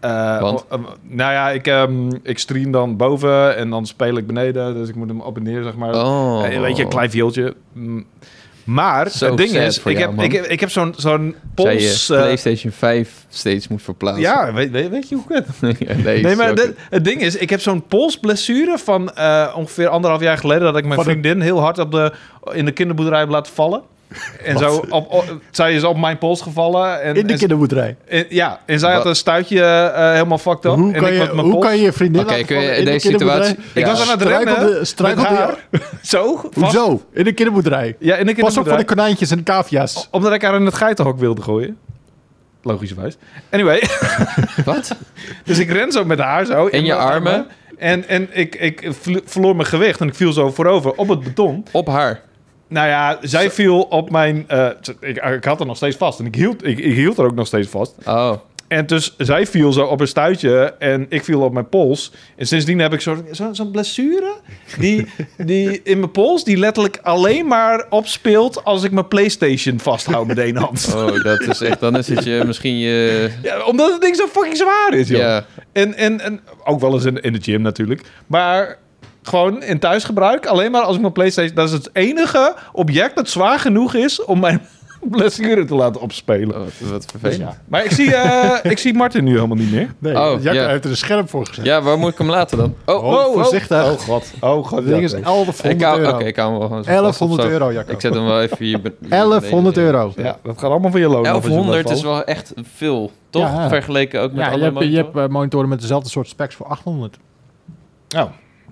Speaker 3: Eh,
Speaker 1: Want?
Speaker 3: om- om- nou ja, ik, ehm, ik stream dan boven en dan speel ik beneden. Dus ik moet hem op en neer, zeg maar.
Speaker 1: oh.
Speaker 3: Eh, weet je, een klein viooltje. Mm. Maar
Speaker 1: Zo
Speaker 3: het ding
Speaker 1: sad
Speaker 3: is,
Speaker 1: voor
Speaker 3: ik,
Speaker 1: jou,
Speaker 3: heb,
Speaker 1: man.
Speaker 3: ik, heb, ik heb zo'n zo'n
Speaker 1: Zij je
Speaker 3: pols... eh,
Speaker 1: PlayStation 5 steeds moet verplaatsen.
Speaker 3: ja, weet, weet, weet je hoe kut?
Speaker 1: Ja, (laughs) nee,
Speaker 3: Nee, maar
Speaker 1: sorry.
Speaker 3: dit- het ding is, ik heb zo'n polsblessure van eh, ongeveer anderhalf jaar geleden... dat ik mijn
Speaker 2: Van een-
Speaker 3: vriendin heel hard op de, in de kinderboerderij heb laten vallen. En
Speaker 2: Wat?
Speaker 3: zo op, op- zij is op mijn pols gevallen. En,
Speaker 2: In de
Speaker 3: en-
Speaker 2: kinderboerderij.
Speaker 3: en- ja, en zij
Speaker 1: Wat?
Speaker 3: had een stuitje eh, helemaal fucked up.
Speaker 2: Hoe
Speaker 3: en
Speaker 2: kan
Speaker 3: ik
Speaker 2: je,
Speaker 3: had mijn
Speaker 2: hoe
Speaker 3: pols
Speaker 2: kan je je vriendin
Speaker 1: Oké,
Speaker 2: laten
Speaker 1: kun je-
Speaker 2: vallen in de
Speaker 1: deze situatie...
Speaker 2: kinderboerderij?
Speaker 1: Ja.
Speaker 3: Ik was aan het
Speaker 2: Struikelde-
Speaker 3: rennen
Speaker 2: struikelde
Speaker 3: met
Speaker 2: je-
Speaker 3: haar. (laughs) Zo, vast.
Speaker 2: Hoezo? In de kinderboerderij.
Speaker 3: Ja, in de
Speaker 2: Pas op voor de
Speaker 3: kinderboerderij.
Speaker 2: konijntjes en cavia's.
Speaker 3: Omdat ik haar in het geitenhok wilde gooien. Logischerwijs. Anyway,
Speaker 1: Wat?
Speaker 3: dus ik ren zo met haar zo.
Speaker 1: In je
Speaker 3: mijn
Speaker 1: armen?
Speaker 3: En, en ik, ik vlo- verloor mijn gewicht en ik viel zo voorover op het beton.
Speaker 1: Op haar.
Speaker 3: Nou ja, zij viel op mijn... eh, ik, ik had haar nog steeds vast en ik hield, ik, ik hield haar ook nog steeds vast.
Speaker 1: Oh.
Speaker 3: En dus zij viel zo op haar stuitje en ik viel op mijn pols. En sindsdien heb ik zo'n zo, zo'n blessure
Speaker 1: (laughs)
Speaker 3: die, die in mijn pols... die letterlijk alleen maar opspeelt als ik mijn Playstation vasthoud met één hand.
Speaker 1: Oh, dat is echt... Dan is het je misschien je...
Speaker 3: Ja, omdat het ding zo fucking zwaar is, joh.
Speaker 1: Ja,
Speaker 3: En, en, en ook wel eens in, in de gym natuurlijk. Maar gewoon in thuisgebruik. Alleen maar als ik mijn PlayStation. Dat is het enige object dat zwaar genoeg is om mijn (laughs) blessure te laten opspelen.
Speaker 1: oh, wat
Speaker 3: Dus
Speaker 1: vervelend.
Speaker 3: ja. Maar ik zie, eh, ik zie Martin nu helemaal niet meer.
Speaker 2: Nee,
Speaker 1: Oh,
Speaker 2: Jack
Speaker 1: ja.
Speaker 2: heeft er een scherm voor gezet.
Speaker 1: Ja, waar moet ik hem laten dan? Oh, oh, oh.
Speaker 2: voorzichtig.
Speaker 3: Oh god. Oh god.
Speaker 2: Dat ding is
Speaker 3: ja,
Speaker 2: 1100
Speaker 1: Ik hou,
Speaker 2: euro.
Speaker 1: Oké, ik hou hem wel gewoon zo vast op
Speaker 2: 1100
Speaker 1: zo.
Speaker 2: euro, Jacco.
Speaker 1: Ik zet hem wel even hier. ben- hier
Speaker 2: 1100
Speaker 1: beneden.
Speaker 2: euro.
Speaker 3: ja, dat gaat allemaal van je loon. af als je
Speaker 1: 1100 Oh, is
Speaker 3: wegvalt.
Speaker 1: wel echt veel, toch?
Speaker 2: Ja.
Speaker 1: Vergeleken ook met
Speaker 2: Ja, je
Speaker 1: andere
Speaker 2: hebt, je hebt
Speaker 1: monitoren.
Speaker 2: eh, monitoren met dezelfde soort specs voor 800.
Speaker 3: Oh,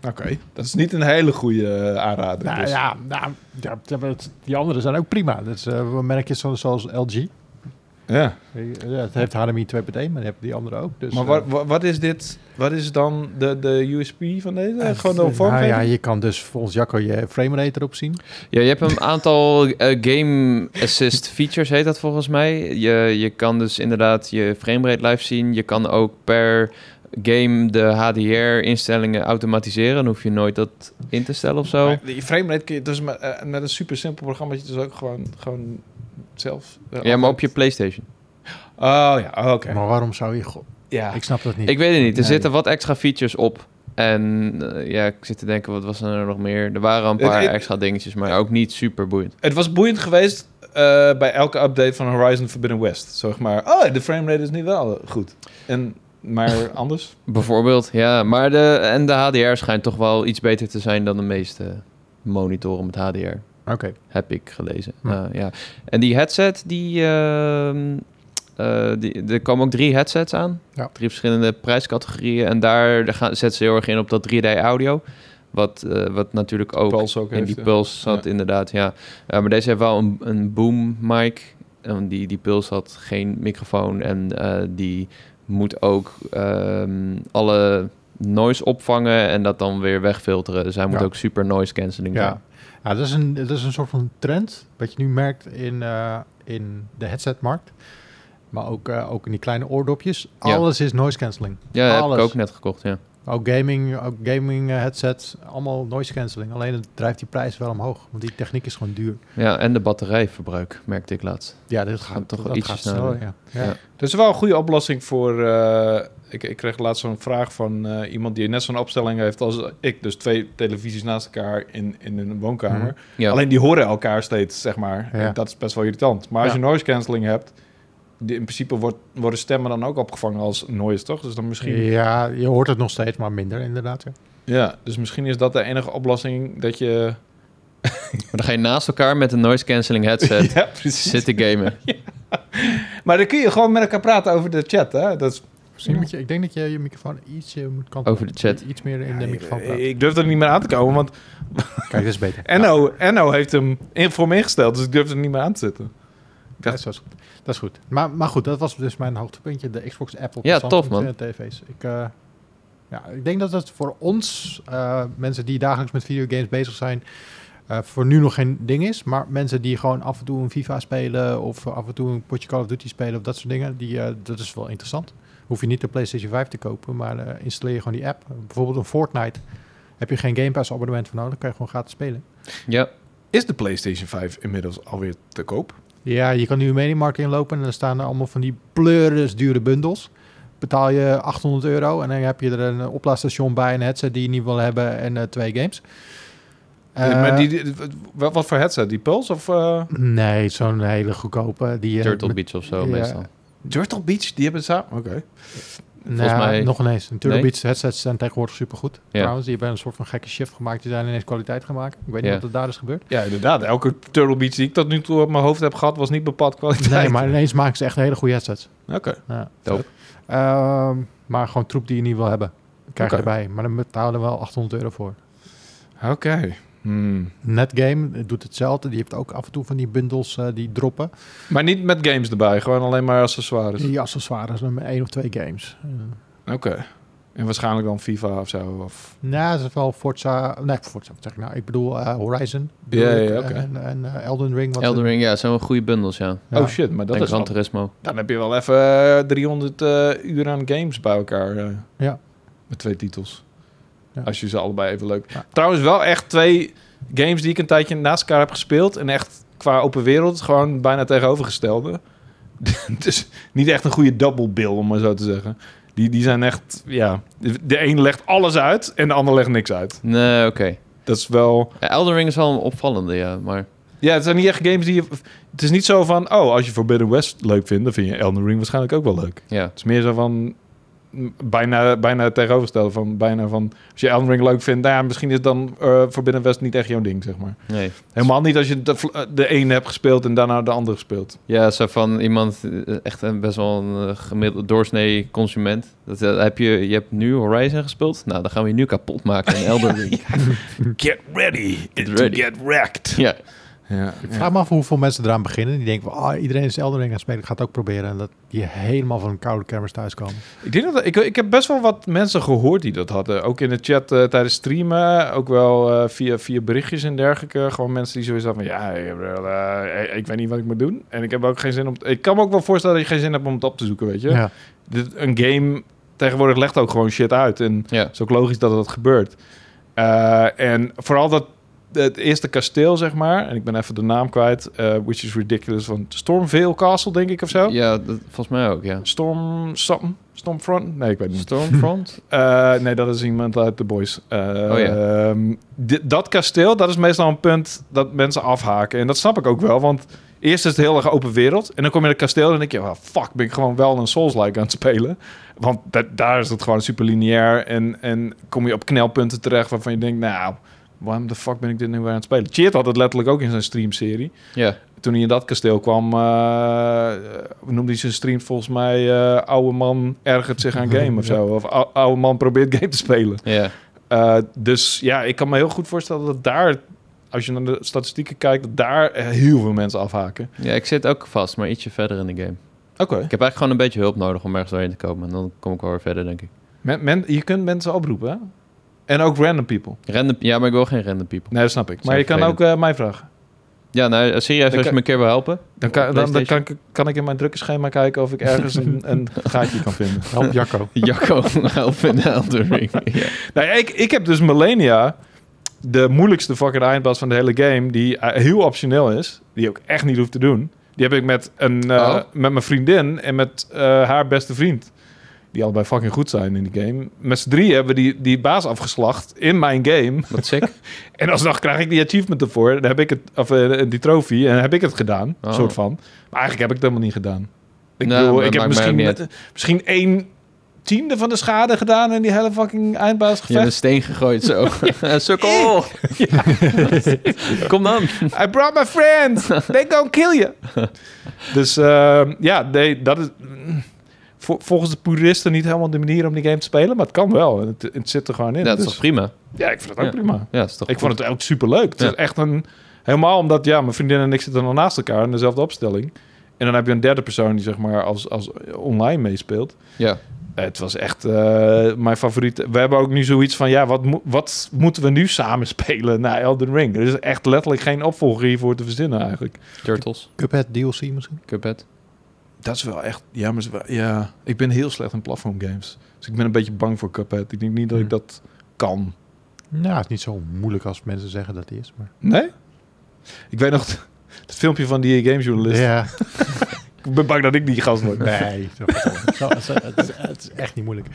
Speaker 3: oké. Dat is niet een hele goede eh, aanrader.
Speaker 2: Nou
Speaker 3: dus.
Speaker 2: ja, nou, ja, het- die andere zijn ook prima. Dat is eh, merkjes zo- zoals LG.
Speaker 3: ja.
Speaker 2: Ja, het heeft HDMI 2.1, maar die hebben die andere ook. Dus,
Speaker 3: Maar
Speaker 2: eh,
Speaker 3: wat, wat, wat is dit? Wat is dan de, de USP van deze?
Speaker 2: eh,
Speaker 3: gewoon de
Speaker 2: nou
Speaker 3: vormgeving?
Speaker 2: ja, je kan dus volgens Jacco je framerate erop zien.
Speaker 1: Ja, je hebt een aantal eh, game
Speaker 2: (laughs)
Speaker 1: assist features, heet dat volgens mij. Je, je kan dus inderdaad je framerate live zien. Je kan ook per game de HDR-instellingen automatiseren. Dan hoef je nooit dat in te stellen of zo.
Speaker 3: Maar die framerate kun je dus met, eh, met een super simpel programma dus ook gewoon, gewoon zelf. eh,
Speaker 1: Ja, maar
Speaker 3: altijd-
Speaker 1: op je PlayStation.
Speaker 3: Oh ja, oh, oké.
Speaker 2: Maar waarom zou je... go-
Speaker 3: Ja.
Speaker 2: Ik snap dat niet.
Speaker 1: Ik weet het niet. Er
Speaker 2: Nee.
Speaker 1: zitten wat extra features op. En eh, ja, ik zit te denken, wat was er nou nog meer? Er waren een
Speaker 3: Het-
Speaker 1: paar
Speaker 3: het-
Speaker 1: extra dingetjes, maar ook niet super boeiend.
Speaker 3: Het was boeiend geweest eh, bij elke update van Horizon Forbidden West. Zeg maar, oh, de framerate is nu wel goed. En,
Speaker 1: (laughs)
Speaker 3: maar anders?
Speaker 1: Bijvoorbeeld, ja. Maar de, en de HDR schijnt toch wel iets beter te zijn dan de meeste monitoren met HDR.
Speaker 2: Oké.
Speaker 1: Heb ik gelezen.
Speaker 2: Hm.
Speaker 1: Eh, ja. En die headset, die, ehm, eh, die... Er komen ook drie headsets aan.
Speaker 2: Ja.
Speaker 1: Drie verschillende prijscategorieën. En daar daar gaan, zetten ze heel erg in op dat 3D-audio. Wat, eh, wat natuurlijk ook
Speaker 3: Pulse ook
Speaker 1: in
Speaker 3: heeft,
Speaker 1: die
Speaker 3: ja.
Speaker 1: Puls zat inderdaad, ja. Eh, maar deze heeft wel een, een boom mic. En die, die Puls had geen microfoon. En eh, die moet ook ehm, alle noise opvangen en dat dan weer wegfilteren. Dus hij moet
Speaker 2: Ja.
Speaker 1: ook super noise cancelling
Speaker 2: Ja.
Speaker 1: zijn.
Speaker 2: ja, dat is een, dat is een soort van trend wat je nu merkt in, eh, in de headsetmarkt. Maar ook, eh, ook in die kleine oordopjes.
Speaker 1: Ja.
Speaker 2: Alles is noise cancelling.
Speaker 1: Ja, dat heb ik
Speaker 2: Alles.
Speaker 1: ook net gekocht, ja.
Speaker 2: Ook gaming, ook gaming eh, headsets, allemaal noise cancelling. Alleen het drijft die prijs wel omhoog, want die techniek is gewoon duur.
Speaker 1: Ja, en de batterijverbruik, merkte ik laatst.
Speaker 2: Ja, dit
Speaker 1: gaat toch ietsje sneller.
Speaker 2: ja.
Speaker 1: Ja.
Speaker 2: Ja.
Speaker 3: Dat is wel een goede oplossing voor... eh, ik, ik kreeg laatst zo'n vraag van eh, iemand die net zo'n opstelling heeft als ik. Dus twee televisies naast elkaar in, in een woonkamer.
Speaker 2: Mhm.
Speaker 1: Ja,
Speaker 3: Alleen die horen elkaar steeds, zeg maar.
Speaker 2: Ja.
Speaker 3: En dat is best wel irritant. Maar als
Speaker 2: Ja.
Speaker 3: je noise cancelling hebt, die, in principe wordt, worden stemmen dan ook opgevangen als noise, toch? Dus dan misschien. Ja.
Speaker 2: Ja, je hoort het nog steeds, maar minder inderdaad. Ja.
Speaker 3: dus misschien is dat de enige oplossing dat je.
Speaker 1: maar dan ga je naast elkaar met een noise cancelling headset
Speaker 3: (laughs) Ja, precies.
Speaker 1: zitten gamen.
Speaker 3: Maar dan kun je gewoon met elkaar praten over de chat, hè? Dat is...
Speaker 2: Misschien moet je, ik denk dat je je microfoon ietsje moet kantelen.
Speaker 1: Over de chat.
Speaker 2: Iets meer in de microfoon
Speaker 3: ik,
Speaker 2: praten.
Speaker 3: ik durf er niet meer aan te komen, want
Speaker 2: Kijk, dit is beter.
Speaker 3: Enno, Enno heeft hem in- voor me ingesteld, dus ik durf er niet meer aan te zitten.
Speaker 2: Ja, dat, is goed. dat is goed. Maar, maar goed, dat was dus mijn hoogtepuntje. De Xbox app op de
Speaker 1: Ja,
Speaker 2: Samsung
Speaker 1: tof, man.
Speaker 2: eh, tv's. Ik, eh, ja, ik denk dat dat voor ons, eh, mensen die dagelijks met videogames bezig zijn... eh, voor nu nog geen ding is. Maar mensen die gewoon af en toe een FIFA spelen... of af en toe een potje Call of Duty spelen of dat soort dingen... Die, eh, dat is wel interessant. Hoef je niet de PlayStation 5 te kopen, maar eh, installeer je gewoon die app. Bijvoorbeeld een Fortnite. Heb je geen Game Pass abonnement voor nodig, kan je gewoon gratis spelen.
Speaker 1: Ja,
Speaker 3: Is de PlayStation 5 inmiddels alweer te koop?
Speaker 2: Ja, je kan nu een Mediamarkt inlopen en dan staan er allemaal van die pleuris dure bundels. Betaal je 800 euro en dan heb je er een oplaadstation bij, een headset die je niet wil hebben en eh, twee games. Eh,
Speaker 3: maar die, die- wat wat voor headset? Die Pulse of... eh,
Speaker 2: Nee, zo'n hele goedkope. Die, eh,
Speaker 1: Turtle Beach of zo
Speaker 2: ja.
Speaker 1: meestal.
Speaker 3: Turtle Beach, die hebben ze samen. Oké.
Speaker 2: Nou,
Speaker 1: mij-
Speaker 2: nog ineens. Een Turtle
Speaker 1: Nee?
Speaker 2: Beach headsets zijn tegenwoordig supergoed.
Speaker 1: Ja.
Speaker 2: Trouwens, die hebben een soort van gekke shift gemaakt. Die zijn ineens kwaliteit gemaakt. Ik weet niet
Speaker 1: Ja.
Speaker 2: wat er daar is
Speaker 3: (laughs)
Speaker 2: gebeurd.
Speaker 3: Ja, inderdaad. Elke Turtle Beach die ik tot nu toe op mijn hoofd heb gehad, was niet bepaald kwaliteit.
Speaker 2: Nee, maar ineens maken ze echt hele goede headsets.
Speaker 3: Oké.
Speaker 2: Ja.
Speaker 1: Dope.
Speaker 2: Ehm, maar gewoon troep die je niet wil hebben. Krijg je
Speaker 3: Oké.
Speaker 2: erbij. Maar dan betaal je er wel 800 euro voor.
Speaker 3: Oké. Hmm.
Speaker 2: Netgame doet hetzelfde. Die heeft ook af en toe van die bundels eh, die droppen.
Speaker 3: Maar niet met Dus- games erbij, gewoon alleen maar accessoires.
Speaker 2: Die accessoires, nummer één of twee games. Eh,
Speaker 3: Oké. En waarschijnlijk dan FIFA of zo. Of...
Speaker 2: Nou, dat is wel Forza... Nee, Forza, wat zeg ik nou? Ik bedoel eh, Horizon. bedoel
Speaker 3: Ja, ja,
Speaker 2: ik,
Speaker 3: ja, oké.
Speaker 2: En, en eh, Elden Ring. Wat
Speaker 1: Elden Ring, ja, zijn wel goede bundels, ja.
Speaker 2: Ja.
Speaker 3: Oh shit, maar dat
Speaker 1: en
Speaker 3: is
Speaker 1: Gran
Speaker 3: wel-
Speaker 1: Turismo.
Speaker 3: Dan heb je wel even eh, 300 eh, uur aan games bij elkaar. eh.
Speaker 2: Ja.
Speaker 3: Met twee titels.
Speaker 2: Ja.
Speaker 3: Als je ze allebei even leuk...
Speaker 2: Ja.
Speaker 3: Trouwens wel echt twee games die ik een tijdje naast elkaar heb gespeeld. En echt qua open wereld gewoon bijna tegenovergestelde. (laughs) dus niet echt een goede double bill, om maar zo te zeggen. Die, die zijn echt, ja... De een legt alles uit en de ander legt niks uit.
Speaker 1: Nee, oké.
Speaker 3: Dat is wel...
Speaker 1: Ja, Elden Ring is wel een opvallende, ja. Maar
Speaker 3: Ja, het zijn niet echt games die je... Het is niet zo van, oh, als je Forbidden West leuk vindt... dan vind je Elden Ring waarschijnlijk ook wel leuk.
Speaker 1: ja.
Speaker 3: Het is meer zo van... m, Bijna, bijna het tegenovergestelde van, bijna van... Als je Elden Ring leuk vindt, nou ja, misschien is dan eh Forbidden West niet echt jouw ding, zeg maar.
Speaker 1: Nee.
Speaker 3: Helemaal niet als je de, vl- eh, de ene hebt gespeeld en daarna de andere gespeeld.
Speaker 1: Ja, zo van iemand, eh, echt een, best wel een eh, gemiddeld doorsnee consument. Dat, eh, heb je, je hebt nu Horizon gespeeld. Nou, dan gaan we je nu kapot maken
Speaker 3: (laughs)
Speaker 1: in Elden Ring.
Speaker 3: Get ready
Speaker 1: Get ready.
Speaker 3: get wrecked.
Speaker 1: ja.
Speaker 3: Ja,
Speaker 2: Ik vraag me af hoeveel mensen eraan beginnen. Die denken, van, ah, iedereen is Elden Ring aan het spelen. Ik ga het ook proberen. En dat die helemaal van een koude kermis thuiskomen.
Speaker 3: Ik, denk dat, ik, ik heb best wel wat mensen gehoord die dat hadden. Ook in de chat eh, tijdens streamen. Ook wel eh, via, via berichtjes en dergelijke. Gewoon mensen die sowieso van... Ja, ik, heb wel, eh, ik, ik weet niet wat ik moet doen. En ik heb ook geen zin om... Ik kan me ook wel voorstellen dat je geen zin hebt om het op te zoeken, weet je. (laughs)
Speaker 2: Ja.
Speaker 3: Dit, een game tegenwoordig legt ook gewoon shit uit. En
Speaker 1: ja.
Speaker 3: het is ook logisch dat dat gebeurt. Eh, en vooral dat... Het eerste kasteel, zeg maar. En ik ben even de naam kwijt. eh, which is ridiculous. Van Stormvale Castle, denk ik, of zo.
Speaker 1: Ja, dat, volgens mij ook, ja.
Speaker 3: Storm... something? Stormfront? Nee, ik weet het niet.
Speaker 1: Stormfront?
Speaker 3: Eh, nee, dat is iemand uit The Boys. Eh,
Speaker 1: ja.
Speaker 3: ehm, di- dat kasteel, dat is meestal een punt dat mensen afhaken. En dat snap ik ook wel, want eerst is het heel erg open wereld. En dan kom je in het kasteel en denk je, "Ah, fuck, ben ik gewoon wel een Souls-like aan het spelen. Want da- daar is het gewoon super lineair. En, en kom je op knelpunten terecht waarvan je denkt, nou, waarom de fuck ben ik dit nu weer aan het spelen? Cheert had het letterlijk ook in zijn streamserie.
Speaker 1: ja.
Speaker 3: Toen hij in dat kasteel kwam, eh, eh, noemde hij zijn stream volgens mij... eh, oude man ergert zich aan game of (laughs) zo. Of ou- oude man probeert game te spelen.
Speaker 1: Ja.
Speaker 3: Eh, dus ja, ik kan me heel goed voorstellen dat daar, als je naar de statistieken kijkt, dat daar eh, heel veel mensen afhaken.
Speaker 1: ja, ik zit ook vast, maar ietsje verder in de game.
Speaker 3: Oké.
Speaker 1: Ik heb eigenlijk gewoon een beetje hulp nodig om ergens doorheen te komen. En dan kom ik wel weer verder, denk ik.
Speaker 3: Men, men- je kunt mensen oproepen, hè? En ook random people.
Speaker 1: Random, ja, maar ik wil geen random people.
Speaker 3: Nee, dat snap ik. Maar
Speaker 1: Zijn
Speaker 3: je kan ook
Speaker 1: vervelend.
Speaker 3: eh, mij vragen.
Speaker 1: Ja, nou, eh, serieus, als
Speaker 3: Dan
Speaker 1: je
Speaker 3: kan-
Speaker 1: me een keer wil
Speaker 3: (laughs)
Speaker 1: helpen.
Speaker 3: Dan, kan, dan, dan kan,
Speaker 1: PlayStation.
Speaker 3: ik, kan ik in mijn drukke schema kijken of ik ergens een, een gaatje kan vinden.
Speaker 2: Help Jacco.
Speaker 1: Jacco, (laughs) help in Elden Ring. Ja.
Speaker 3: Nou, (laughs) ja, ik, ik heb dus Millennia, de moeilijkste fucking eindbaas van de hele game, die eh, heel optioneel is, die je ook echt niet hoeft te doen. Die heb ik met, een, eh,
Speaker 1: Oh.
Speaker 3: met mijn vriendin en met eh, haar beste vriend. Die allebei fucking goed zijn in de game. Met z'n drieën hebben we die, die baas afgeslacht in mijn game. (laughs)
Speaker 1: Wat sick.
Speaker 3: En alsnog krijg ik die achievement ervoor. Dan heb ik het, of eh, die trofee. En dan heb ik het gedaan.
Speaker 1: Oh.
Speaker 3: soort van. Maar eigenlijk heb ik het helemaal niet gedaan. Ik
Speaker 1: Nou,
Speaker 3: bedoel,
Speaker 1: maar
Speaker 3: ik heb
Speaker 1: maakt mij ook
Speaker 3: misschien,
Speaker 1: niet
Speaker 3: misschien één tiende van de schade gedaan in die hele fucking
Speaker 1: Je hebt
Speaker 3: eindbaasgevecht.
Speaker 1: een steen gegooid
Speaker 3: (laughs)
Speaker 1: zo. Eh, (laughs) Sukkel! Kom dan.
Speaker 3: I brought my friends. They gonna kill you. (laughs) dus ehm, ja, nee, dat is mm, vol- volgens de puristen niet helemaal de manier om die game te spelen. Maar het kan wel. Het, het zit er gewoon in.
Speaker 1: Ja, dat is
Speaker 3: Dus-
Speaker 1: toch prima?
Speaker 3: ja ik vind het ook
Speaker 1: Ja.
Speaker 3: prima.
Speaker 1: Ja, dat is toch
Speaker 3: Ik vond het ook superleuk. Het
Speaker 1: Ja.
Speaker 3: is echt een... Helemaal omdat, ja, mijn vriendin en ik zitten dan naast elkaar in dezelfde opstelling. En dan heb je een derde persoon die, zeg maar, als, als online meespeelt.
Speaker 1: Ja.
Speaker 3: Eh, Het was echt eh, mijn favoriet. We hebben ook nu zoiets van, ja, wat, mo- wat moeten we nu samen (laughs) spelen na Elden Ring? Er is echt letterlijk geen opvolger hiervoor te verzinnen eigenlijk.
Speaker 1: Turtles,
Speaker 2: Cuphead DLC misschien?
Speaker 1: Cuphead.
Speaker 3: Dat is wel echt... Ja, maar is wel- ja, ik ben heel slecht in platform games. Dus ik ben een beetje bang voor Cuphead. Ik denk niet dat ik
Speaker 2: Hm.
Speaker 3: dat kan.
Speaker 2: Nou, het is niet zo moeilijk als mensen zeggen dat die is. Maar...
Speaker 3: Nee? Ik weet nog (laughs) t- het filmpje van die gamejournalist. (laughs)
Speaker 2: Ja.
Speaker 3: Ik ben bang dat ik die gast word.
Speaker 2: Nee, (laughs) zo- zo- zo- het is- het is echt niet moeilijk.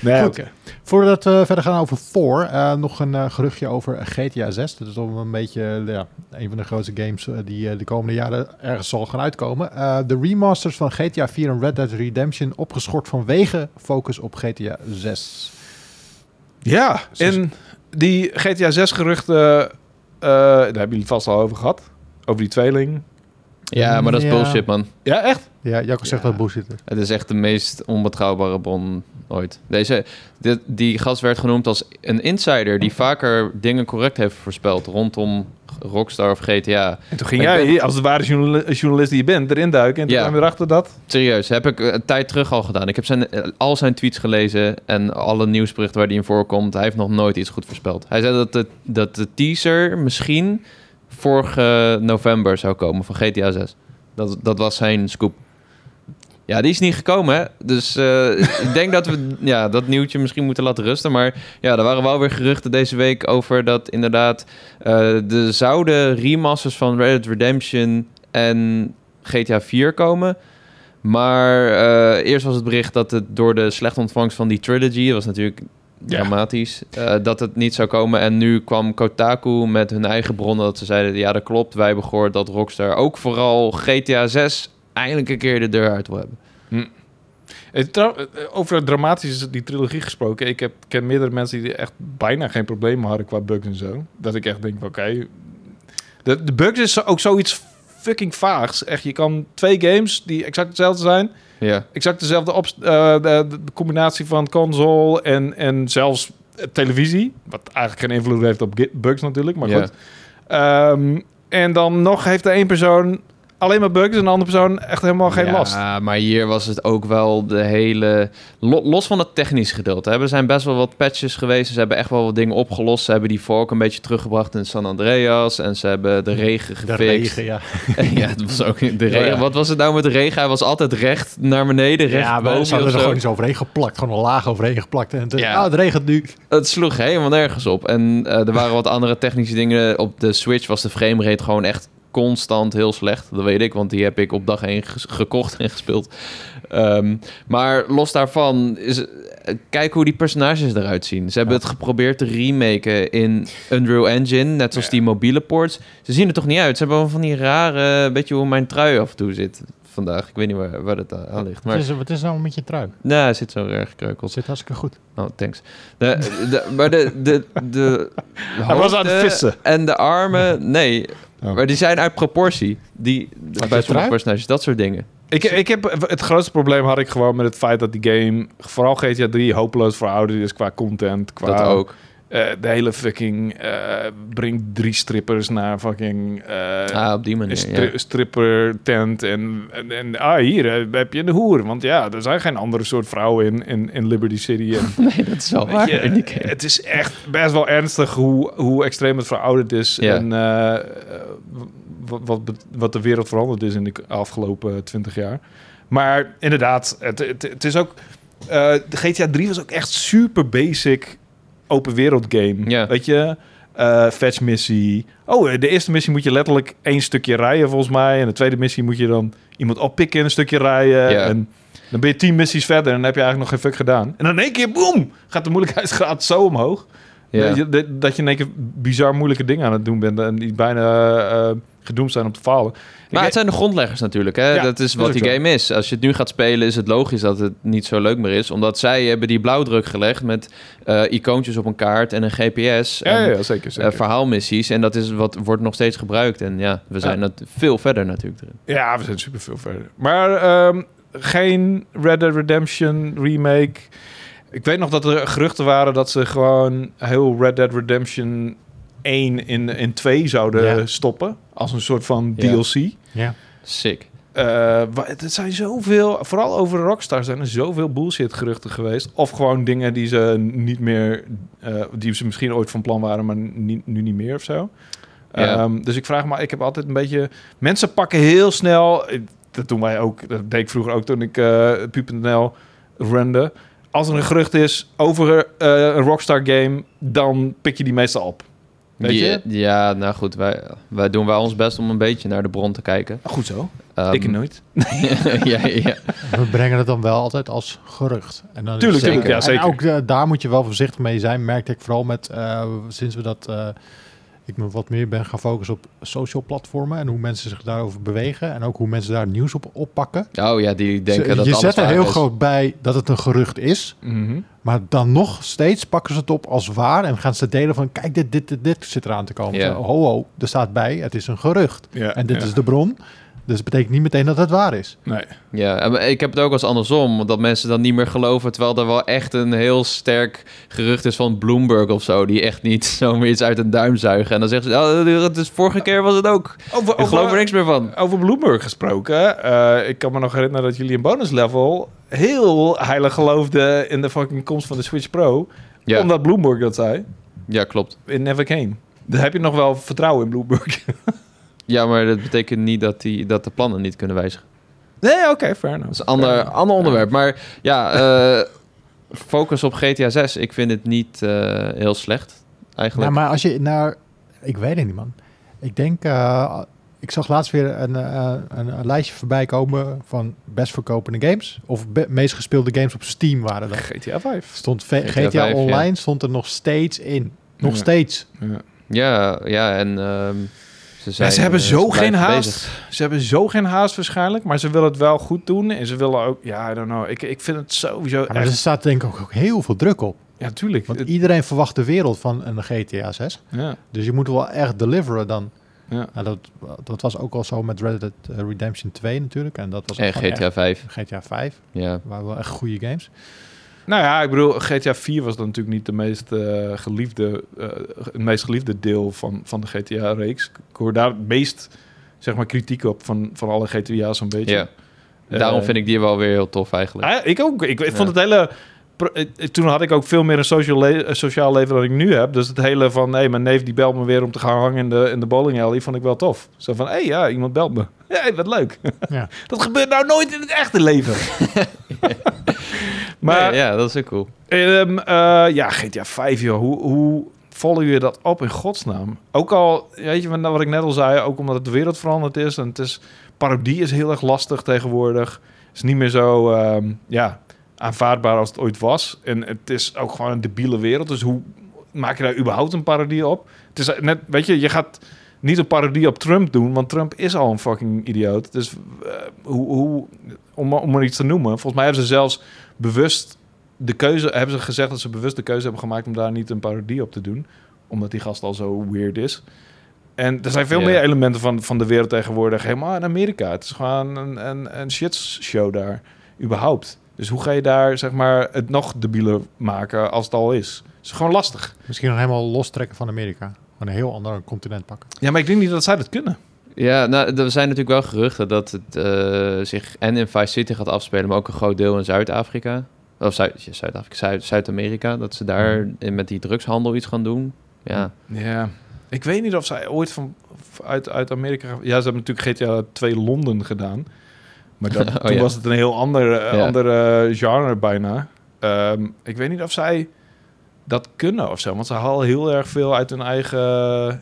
Speaker 3: Nee,
Speaker 2: Goed. Voordat we verder gaan over 4, eh, nog een eh, geruchtje over GTA 6. Dat is toch wel een beetje eh, ja, een van de grootste games eh, die eh, de komende jaren ergens zal gaan uitkomen. Eh, de remasters van GTA 4 en Red Dead Redemption opgeschort vanwege focus op GTA 6.
Speaker 3: Ja, en die GTA 6 geruchten, eh, daar hebben jullie het vast al over gehad. Over die tweeling.
Speaker 1: Ja, maar dat is
Speaker 2: Ja.
Speaker 1: bullshit, man.
Speaker 3: Ja, echt?
Speaker 2: Ja, Jacco zegt
Speaker 1: Ja.
Speaker 2: dat bullshit is.
Speaker 1: Het is echt de meest onbetrouwbare bron ooit. Deze, dit- die gast werd genoemd als een insider die vaker dingen correct heeft voorspeld rondom Rockstar of GTA.
Speaker 3: En toen ging
Speaker 1: Ik
Speaker 3: jij,
Speaker 1: ben-
Speaker 3: als de ware journali- journalist die je bent, erin duiken. En toen
Speaker 1: Ja.
Speaker 3: kwam je erachter dat...
Speaker 1: Serieus, heb ik eh, een tijd terug al gedaan. Ik heb zijn, eh, al zijn tweets gelezen en alle nieuwsberichten waar hij in voorkomt. Hij heeft nog nooit iets goed voorspeld. Hij zei dat de, dat de teaser misschien vorige november zou komen van GTA 6. Dat, dat was zijn scoop. Ja, die is niet gekomen, hè? Dus eh, (laughs) ik denk dat we ja, dat nieuwtje misschien moeten laten rusten. Maar ja, er waren wel weer geruchten deze week over dat inderdaad eh de zouden remasters van Red Dead Redemption en GTA 4 komen. Maar eh, eerst was het bericht dat het door de slechte ontvangst van die trilogy, dat was natuurlijk
Speaker 3: Ja.
Speaker 1: dramatisch, eh, dat het niet zou komen. En nu kwam Kotaku met hun eigen bronnen dat ze zeiden, ja dat klopt, wij hebben gehoord dat Rockstar ook vooral GTA 6 eindelijk een keer de deur uit wil hebben.
Speaker 3: Eh, trouw- eh, Over dramatisch die trilogie gesproken. Ik heb, ken meerdere mensen die echt bijna geen problemen hadden qua bugs en zo. Dat ik echt denk, van, oké... de, de bugs is ook zoiets fucking vaags. Echt, je kan twee games die exact hetzelfde zijn...
Speaker 1: Ja,
Speaker 3: exact dezelfde op, de, de combinatie van console en, en zelfs eh, televisie. Wat eigenlijk geen invloed heeft op ge- bugs natuurlijk, maar
Speaker 1: Ja.
Speaker 3: goed. Ehm, en dan nog heeft de één persoon alleen maar bugs en de andere persoon echt helemaal geen
Speaker 1: ja,
Speaker 3: last.
Speaker 1: maar hier was het ook wel de hele... lo- Los van het technische gedeelte. hè, Er zijn best wel wat patches geweest. Ze hebben echt wel wat dingen opgelost. Ze hebben die vork een beetje teruggebracht in San Andreas. En ze hebben de regen gefixt. (laughs)
Speaker 2: ja.
Speaker 1: ja, het was ook de
Speaker 3: Ja,
Speaker 1: regen.
Speaker 3: ja.
Speaker 1: Wat was het nou met de regen? Hij was altijd recht naar beneden, recht
Speaker 2: Ja, maar
Speaker 1: boven
Speaker 2: ze hadden
Speaker 1: of
Speaker 2: er
Speaker 1: zo.
Speaker 2: gewoon iets overheen geplakt. Gewoon een laag overheen geplakt. En toen,
Speaker 1: Ja.
Speaker 2: ah, het regent nu.
Speaker 1: Het sloeg helemaal nergens op. En eh, er waren wat andere technische dingen. Op de Switch was de framerate gewoon echt constant heel slecht. Dat weet ik, want die heb ik op dag 1 gekocht en gespeeld. Ehm, maar los daarvan, is, eh, kijk hoe die personages eruit zien. Ze hebben het geprobeerd te remaken in Unreal Engine, net zoals
Speaker 3: Ja.
Speaker 1: die mobiele ports. Ze zien er toch niet uit. Ze hebben wel van die rare, weet je hoe mijn trui af en toe zit vandaag. Ik weet niet waar, waar dat aan ligt. Maar
Speaker 2: Wat, is, wat is nou met je trui?
Speaker 1: nou, hij zit zo erg kreukeld.
Speaker 2: Dat zit hartstikke goed.
Speaker 1: Oh, thanks. De, de, maar de, de, de
Speaker 3: (laughs) Hij was aan het
Speaker 1: hoofden
Speaker 3: vissen.
Speaker 1: En de armen, nee.
Speaker 3: Oh.
Speaker 1: Maar die zijn uit proportie. Die, bij
Speaker 2: je
Speaker 1: sommige
Speaker 2: trui?
Speaker 1: personages, dat soort dingen.
Speaker 3: Ik, ik heb, het grootste probleem had ik gewoon met het feit dat die game, vooral GTA 3, hopeloos verouderd is qua content. Qua,
Speaker 1: Dat ook.
Speaker 3: eh, de hele fucking, eh breng drie strippers naar fucking... eh,
Speaker 1: ah, op die
Speaker 3: Een
Speaker 1: manier,
Speaker 3: stri-
Speaker 1: ja.
Speaker 3: stripper tent en, en, en ah, hier eh, heb je een hoer. Want ja, er zijn geen andere soort vrouwen in, in, in Liberty City. En,
Speaker 1: (laughs) Nee, dat is wel waar.
Speaker 3: Weet je, eh,
Speaker 1: in die game.
Speaker 3: het is echt best wel ernstig hoe, hoe extreem het verouderd is.
Speaker 1: Ja.
Speaker 3: En eh, eh, wat, wat, bet- wat de wereld veranderd is in de k- afgelopen twintig jaar. Maar inderdaad, het, het, het is ook... eh, de GTA 3 was ook echt super basic open wereld game.
Speaker 1: Ja.
Speaker 3: Weet je... eh fetch missie. Oh, eh, de eerste missie moet je letterlijk één stukje rijden volgens mij. En de tweede missie moet je dan iemand oppikken en een stukje rijden.
Speaker 1: Ja.
Speaker 3: En dan ben je tien missies verder en dan heb je eigenlijk nog geen fuck gedaan. En dan in één keer, boem, gaat de moeilijkheidsgraad zo omhoog.
Speaker 1: Ja.
Speaker 3: Dat, je, dat- dat je in één keer bizar moeilijke dingen aan het doen bent. En die bijna eh, gedoemd zijn om te falen.
Speaker 1: Maar
Speaker 3: Ik-
Speaker 1: het zijn de grondleggers natuurlijk. Hè?
Speaker 3: Ja,
Speaker 1: dat is
Speaker 3: dat
Speaker 1: wat
Speaker 3: is
Speaker 1: die
Speaker 3: ook
Speaker 1: game is. Als je het nu gaat spelen, is het logisch dat het niet zo leuk meer is. Omdat zij hebben die blauwdruk gelegd met eh, icoontjes op een kaart en een GPS.
Speaker 3: ja,
Speaker 1: en,
Speaker 3: ja, ja, zeker.
Speaker 1: eh,
Speaker 3: zeker.
Speaker 1: verhaalmissies. En dat is wat wordt nog steeds gebruikt. En ja, we zijn dat veel verder natuurlijk. erin.
Speaker 3: ja, we zijn super veel verder. Maar ehm, geen Red Dead Redemption remake. Ik weet nog dat er geruchten waren dat ze gewoon heel Red Dead Redemption 1 in, in 2 zouden
Speaker 2: Ja.
Speaker 3: stoppen. Als een soort van
Speaker 1: Ja.
Speaker 3: DLC.
Speaker 2: Ja.
Speaker 1: Sick.
Speaker 3: Eh, wa- het zijn zoveel, vooral over Rockstar zijn er zoveel bullshit geruchten geweest. Of gewoon dingen die ze niet meer, eh, die ze misschien ooit van plan waren, maar ni- nu niet meer of zo.
Speaker 1: Ja.
Speaker 3: Ehm, dus ik vraag me, ik heb altijd een beetje, mensen pakken heel snel, eh, dat doen wij ook, dat deed ik vroeger ook toen ik eh pu.nl runde. Als er een gerucht is over eh, een Rockstar game, dan pik je die meestal op. Weet
Speaker 1: Die-
Speaker 3: je?
Speaker 1: Ja, nou goed, wij, wij doen wel ons best om een beetje naar de bron te kijken.
Speaker 3: Goed zo.
Speaker 1: Ehm,
Speaker 3: ik nooit.
Speaker 1: (laughs) ja, ja.
Speaker 2: We brengen het dan wel altijd als gerucht. En dan is
Speaker 3: Tuurlijk,
Speaker 1: tuurlijk,
Speaker 3: ja, zeker.
Speaker 2: En ook eh, daar moet je wel voorzichtig mee zijn, merkte ik vooral met eh, sinds we dat. eh, ik me wat meer ben gaan focussen op social platformen en hoe mensen zich daarover bewegen en ook hoe mensen daar nieuws op oppakken.
Speaker 1: Oh ja, die denken
Speaker 2: Ze-
Speaker 1: dat
Speaker 2: je
Speaker 1: alles
Speaker 2: zet er
Speaker 1: waar
Speaker 2: heel
Speaker 1: is.
Speaker 2: groot bij dat het een gerucht is,
Speaker 3: Mhm.
Speaker 2: maar dan nog steeds pakken ze het op als waar en gaan ze delen van kijk dit dit dit, dit zit eraan te komen.
Speaker 1: Ja.
Speaker 2: Zo, Ho ho, er staat bij, het is een gerucht
Speaker 3: Ja,
Speaker 2: en dit
Speaker 3: ja.
Speaker 2: is de bron. Dus dat betekent niet meteen dat het waar is.
Speaker 3: Nee.
Speaker 1: Ja, en ik heb het ook als andersom. Dat mensen dan niet meer geloven. Terwijl er wel echt een heel sterk gerucht is van Bloomberg of zo. Die echt niet (laughs) zomaar iets uit een duim zuigen. En dan zeggen ze, oh, het is, vorige keer was het ook.
Speaker 3: Over,
Speaker 1: Ik geloof er niks meer van.
Speaker 3: Over Bloomberg gesproken. eh, ik kan me nog herinneren dat jullie in bonus level heel heilig geloofden in de fucking komst van de Switch Pro.
Speaker 1: Ja,
Speaker 3: Omdat Bloomberg dat zei.
Speaker 1: ja klopt.
Speaker 3: It never came. Daar heb je nog wel vertrouwen in Bloomberg. (laughs)
Speaker 1: Ja, maar dat betekent niet dat, die, dat de plannen niet kunnen wijzigen.
Speaker 3: nee, oké, fair enough.
Speaker 1: Dat is een ander, ander onderwerp. Maar ja, eh, focus op GTA 6. Ik vind het niet eh, heel slecht,
Speaker 2: Ja,
Speaker 1: eigenlijk.
Speaker 2: Nou, maar als je naar... Ik weet het niet, man. Ik denk... eh, ik zag laatst weer een, eh, een, een lijstje voorbij komen van best verkopende games. Of be- meest gespeelde games op Steam waren dat.
Speaker 3: GTA 5.
Speaker 2: Stond ve-
Speaker 1: GTA
Speaker 2: GTA,
Speaker 1: vijf,
Speaker 2: Online stond er nog steeds in. Nog
Speaker 3: Ja.
Speaker 2: steeds.
Speaker 1: Ja, ja, en ehm, ze zijn...
Speaker 3: Ja, ze hebben
Speaker 1: eh,
Speaker 3: zo geen
Speaker 1: blijven
Speaker 3: haast.
Speaker 1: bezig.
Speaker 3: Ze hebben zo geen haast waarschijnlijk, maar ze willen het wel goed doen. En ze willen ook, ja, I don't know. Ik, ik vind het sowieso
Speaker 2: Ja, maar er
Speaker 3: echt...
Speaker 2: staat denk ik ook- ook heel veel druk op.
Speaker 3: Ja, tuurlijk.
Speaker 2: Want
Speaker 3: Eh, Het-
Speaker 2: iedereen verwacht de wereld van een GTA 6.
Speaker 3: ja,
Speaker 2: Dus je moet wel echt deliveren dan.
Speaker 3: ja.
Speaker 2: Nou, dat, dat was ook al zo met Red Dead eh, Redemption 2 natuurlijk. En dat was
Speaker 3: Eh,
Speaker 2: ook
Speaker 1: En
Speaker 2: gewoon
Speaker 1: GTA 5,
Speaker 2: echt- GTA 5
Speaker 1: ja.
Speaker 2: waren wel echt goede games.
Speaker 3: Nou ja, ik bedoel, GTA 4 was dan natuurlijk niet de meest, eh, geliefde, eh, het meest geliefde deel van, van de GTA-reeks. Ik hoor daar het meest zeg maar, kritiek op van, van alle GTA's een beetje.
Speaker 1: Ja. Daarom
Speaker 3: Eh,
Speaker 1: vind ik die wel weer heel tof eigenlijk.
Speaker 3: Ah, ik ook. Ik, ik
Speaker 1: Ja.
Speaker 3: vond het hele... pro- eh, eh, Toen had ik ook veel meer een social le- eh, sociaal leven dan ik nu heb. Dus het hele van, hé, mijn neef die belt me weer om te gaan hangen in de, in de bowling alley, vond ik wel tof. Zo van, hé, ja, iemand belt me. (laughs) Hé, wat leuk.
Speaker 2: Ja.
Speaker 3: (laughs) Dat gebeurt nou nooit in het echte
Speaker 1: (laughs)
Speaker 3: leven. maar
Speaker 1: Nee, ja, dat is ook cool.
Speaker 3: Ehm, eh, ja, GTA 5, joh. Hoe, hoe volgen jullie dat op in godsnaam? Ook al, weet je wat ik net al zei, ook omdat het de wereld veranderd is. En het is, parodie is heel erg lastig tegenwoordig. Het is niet meer zo, ehm, ja, aanvaardbaar als het ooit was. En het is ook gewoon een debiele wereld. Dus hoe maak je daar überhaupt een parodie op? Het is net, weet je, je gaat niet een parodie op Trump doen, want Trump is al een fucking idioot. Dus eh, hoe, hoe om, maar- om maar iets te noemen, volgens mij hebben ze zelfs bewust de keuze hebben ze gezegd dat ze bewust de keuze hebben gemaakt om daar niet een parodie op te doen, omdat die gast al zo weird is. En er zijn veel
Speaker 1: Ja.
Speaker 3: meer elementen van, van de wereld tegenwoordig helemaal in Amerika. Het is gewoon een, een, een shitshow daar, überhaupt. Dus hoe ga je daar zeg maar, het nog debieler maken als het al is? Het is gewoon lastig.
Speaker 2: Misschien nog helemaal lostrekken van Amerika. Gewoon een heel ander continent
Speaker 1: (laughs)
Speaker 2: pakken.
Speaker 3: Ja, maar ik denk niet dat zij dat kunnen.
Speaker 1: Ja, nou, er zijn natuurlijk wel geruchten dat het eh, zich en in Vice City gaat afspelen, maar ook een groot deel in Zuid-Afrika. Of Zuid- ja, Zuid-Afrika, Zuid- Zuid-Amerika. dat ze daar in- met die drugshandel iets gaan doen. Ja,
Speaker 3: Ja, ik weet niet of zij ooit van, uit, uit Amerika... Ja, ze hebben natuurlijk GTA 2 Londen gedaan. Maar (laughs) dat,
Speaker 1: Oh,
Speaker 3: toen
Speaker 1: ja.
Speaker 3: was het een heel ander, eh,
Speaker 1: Ja.
Speaker 3: ander eh, genre bijna. Ehm, ik weet niet of zij dat kunnen of zo. Want ze halen heel erg veel uit hun eigen...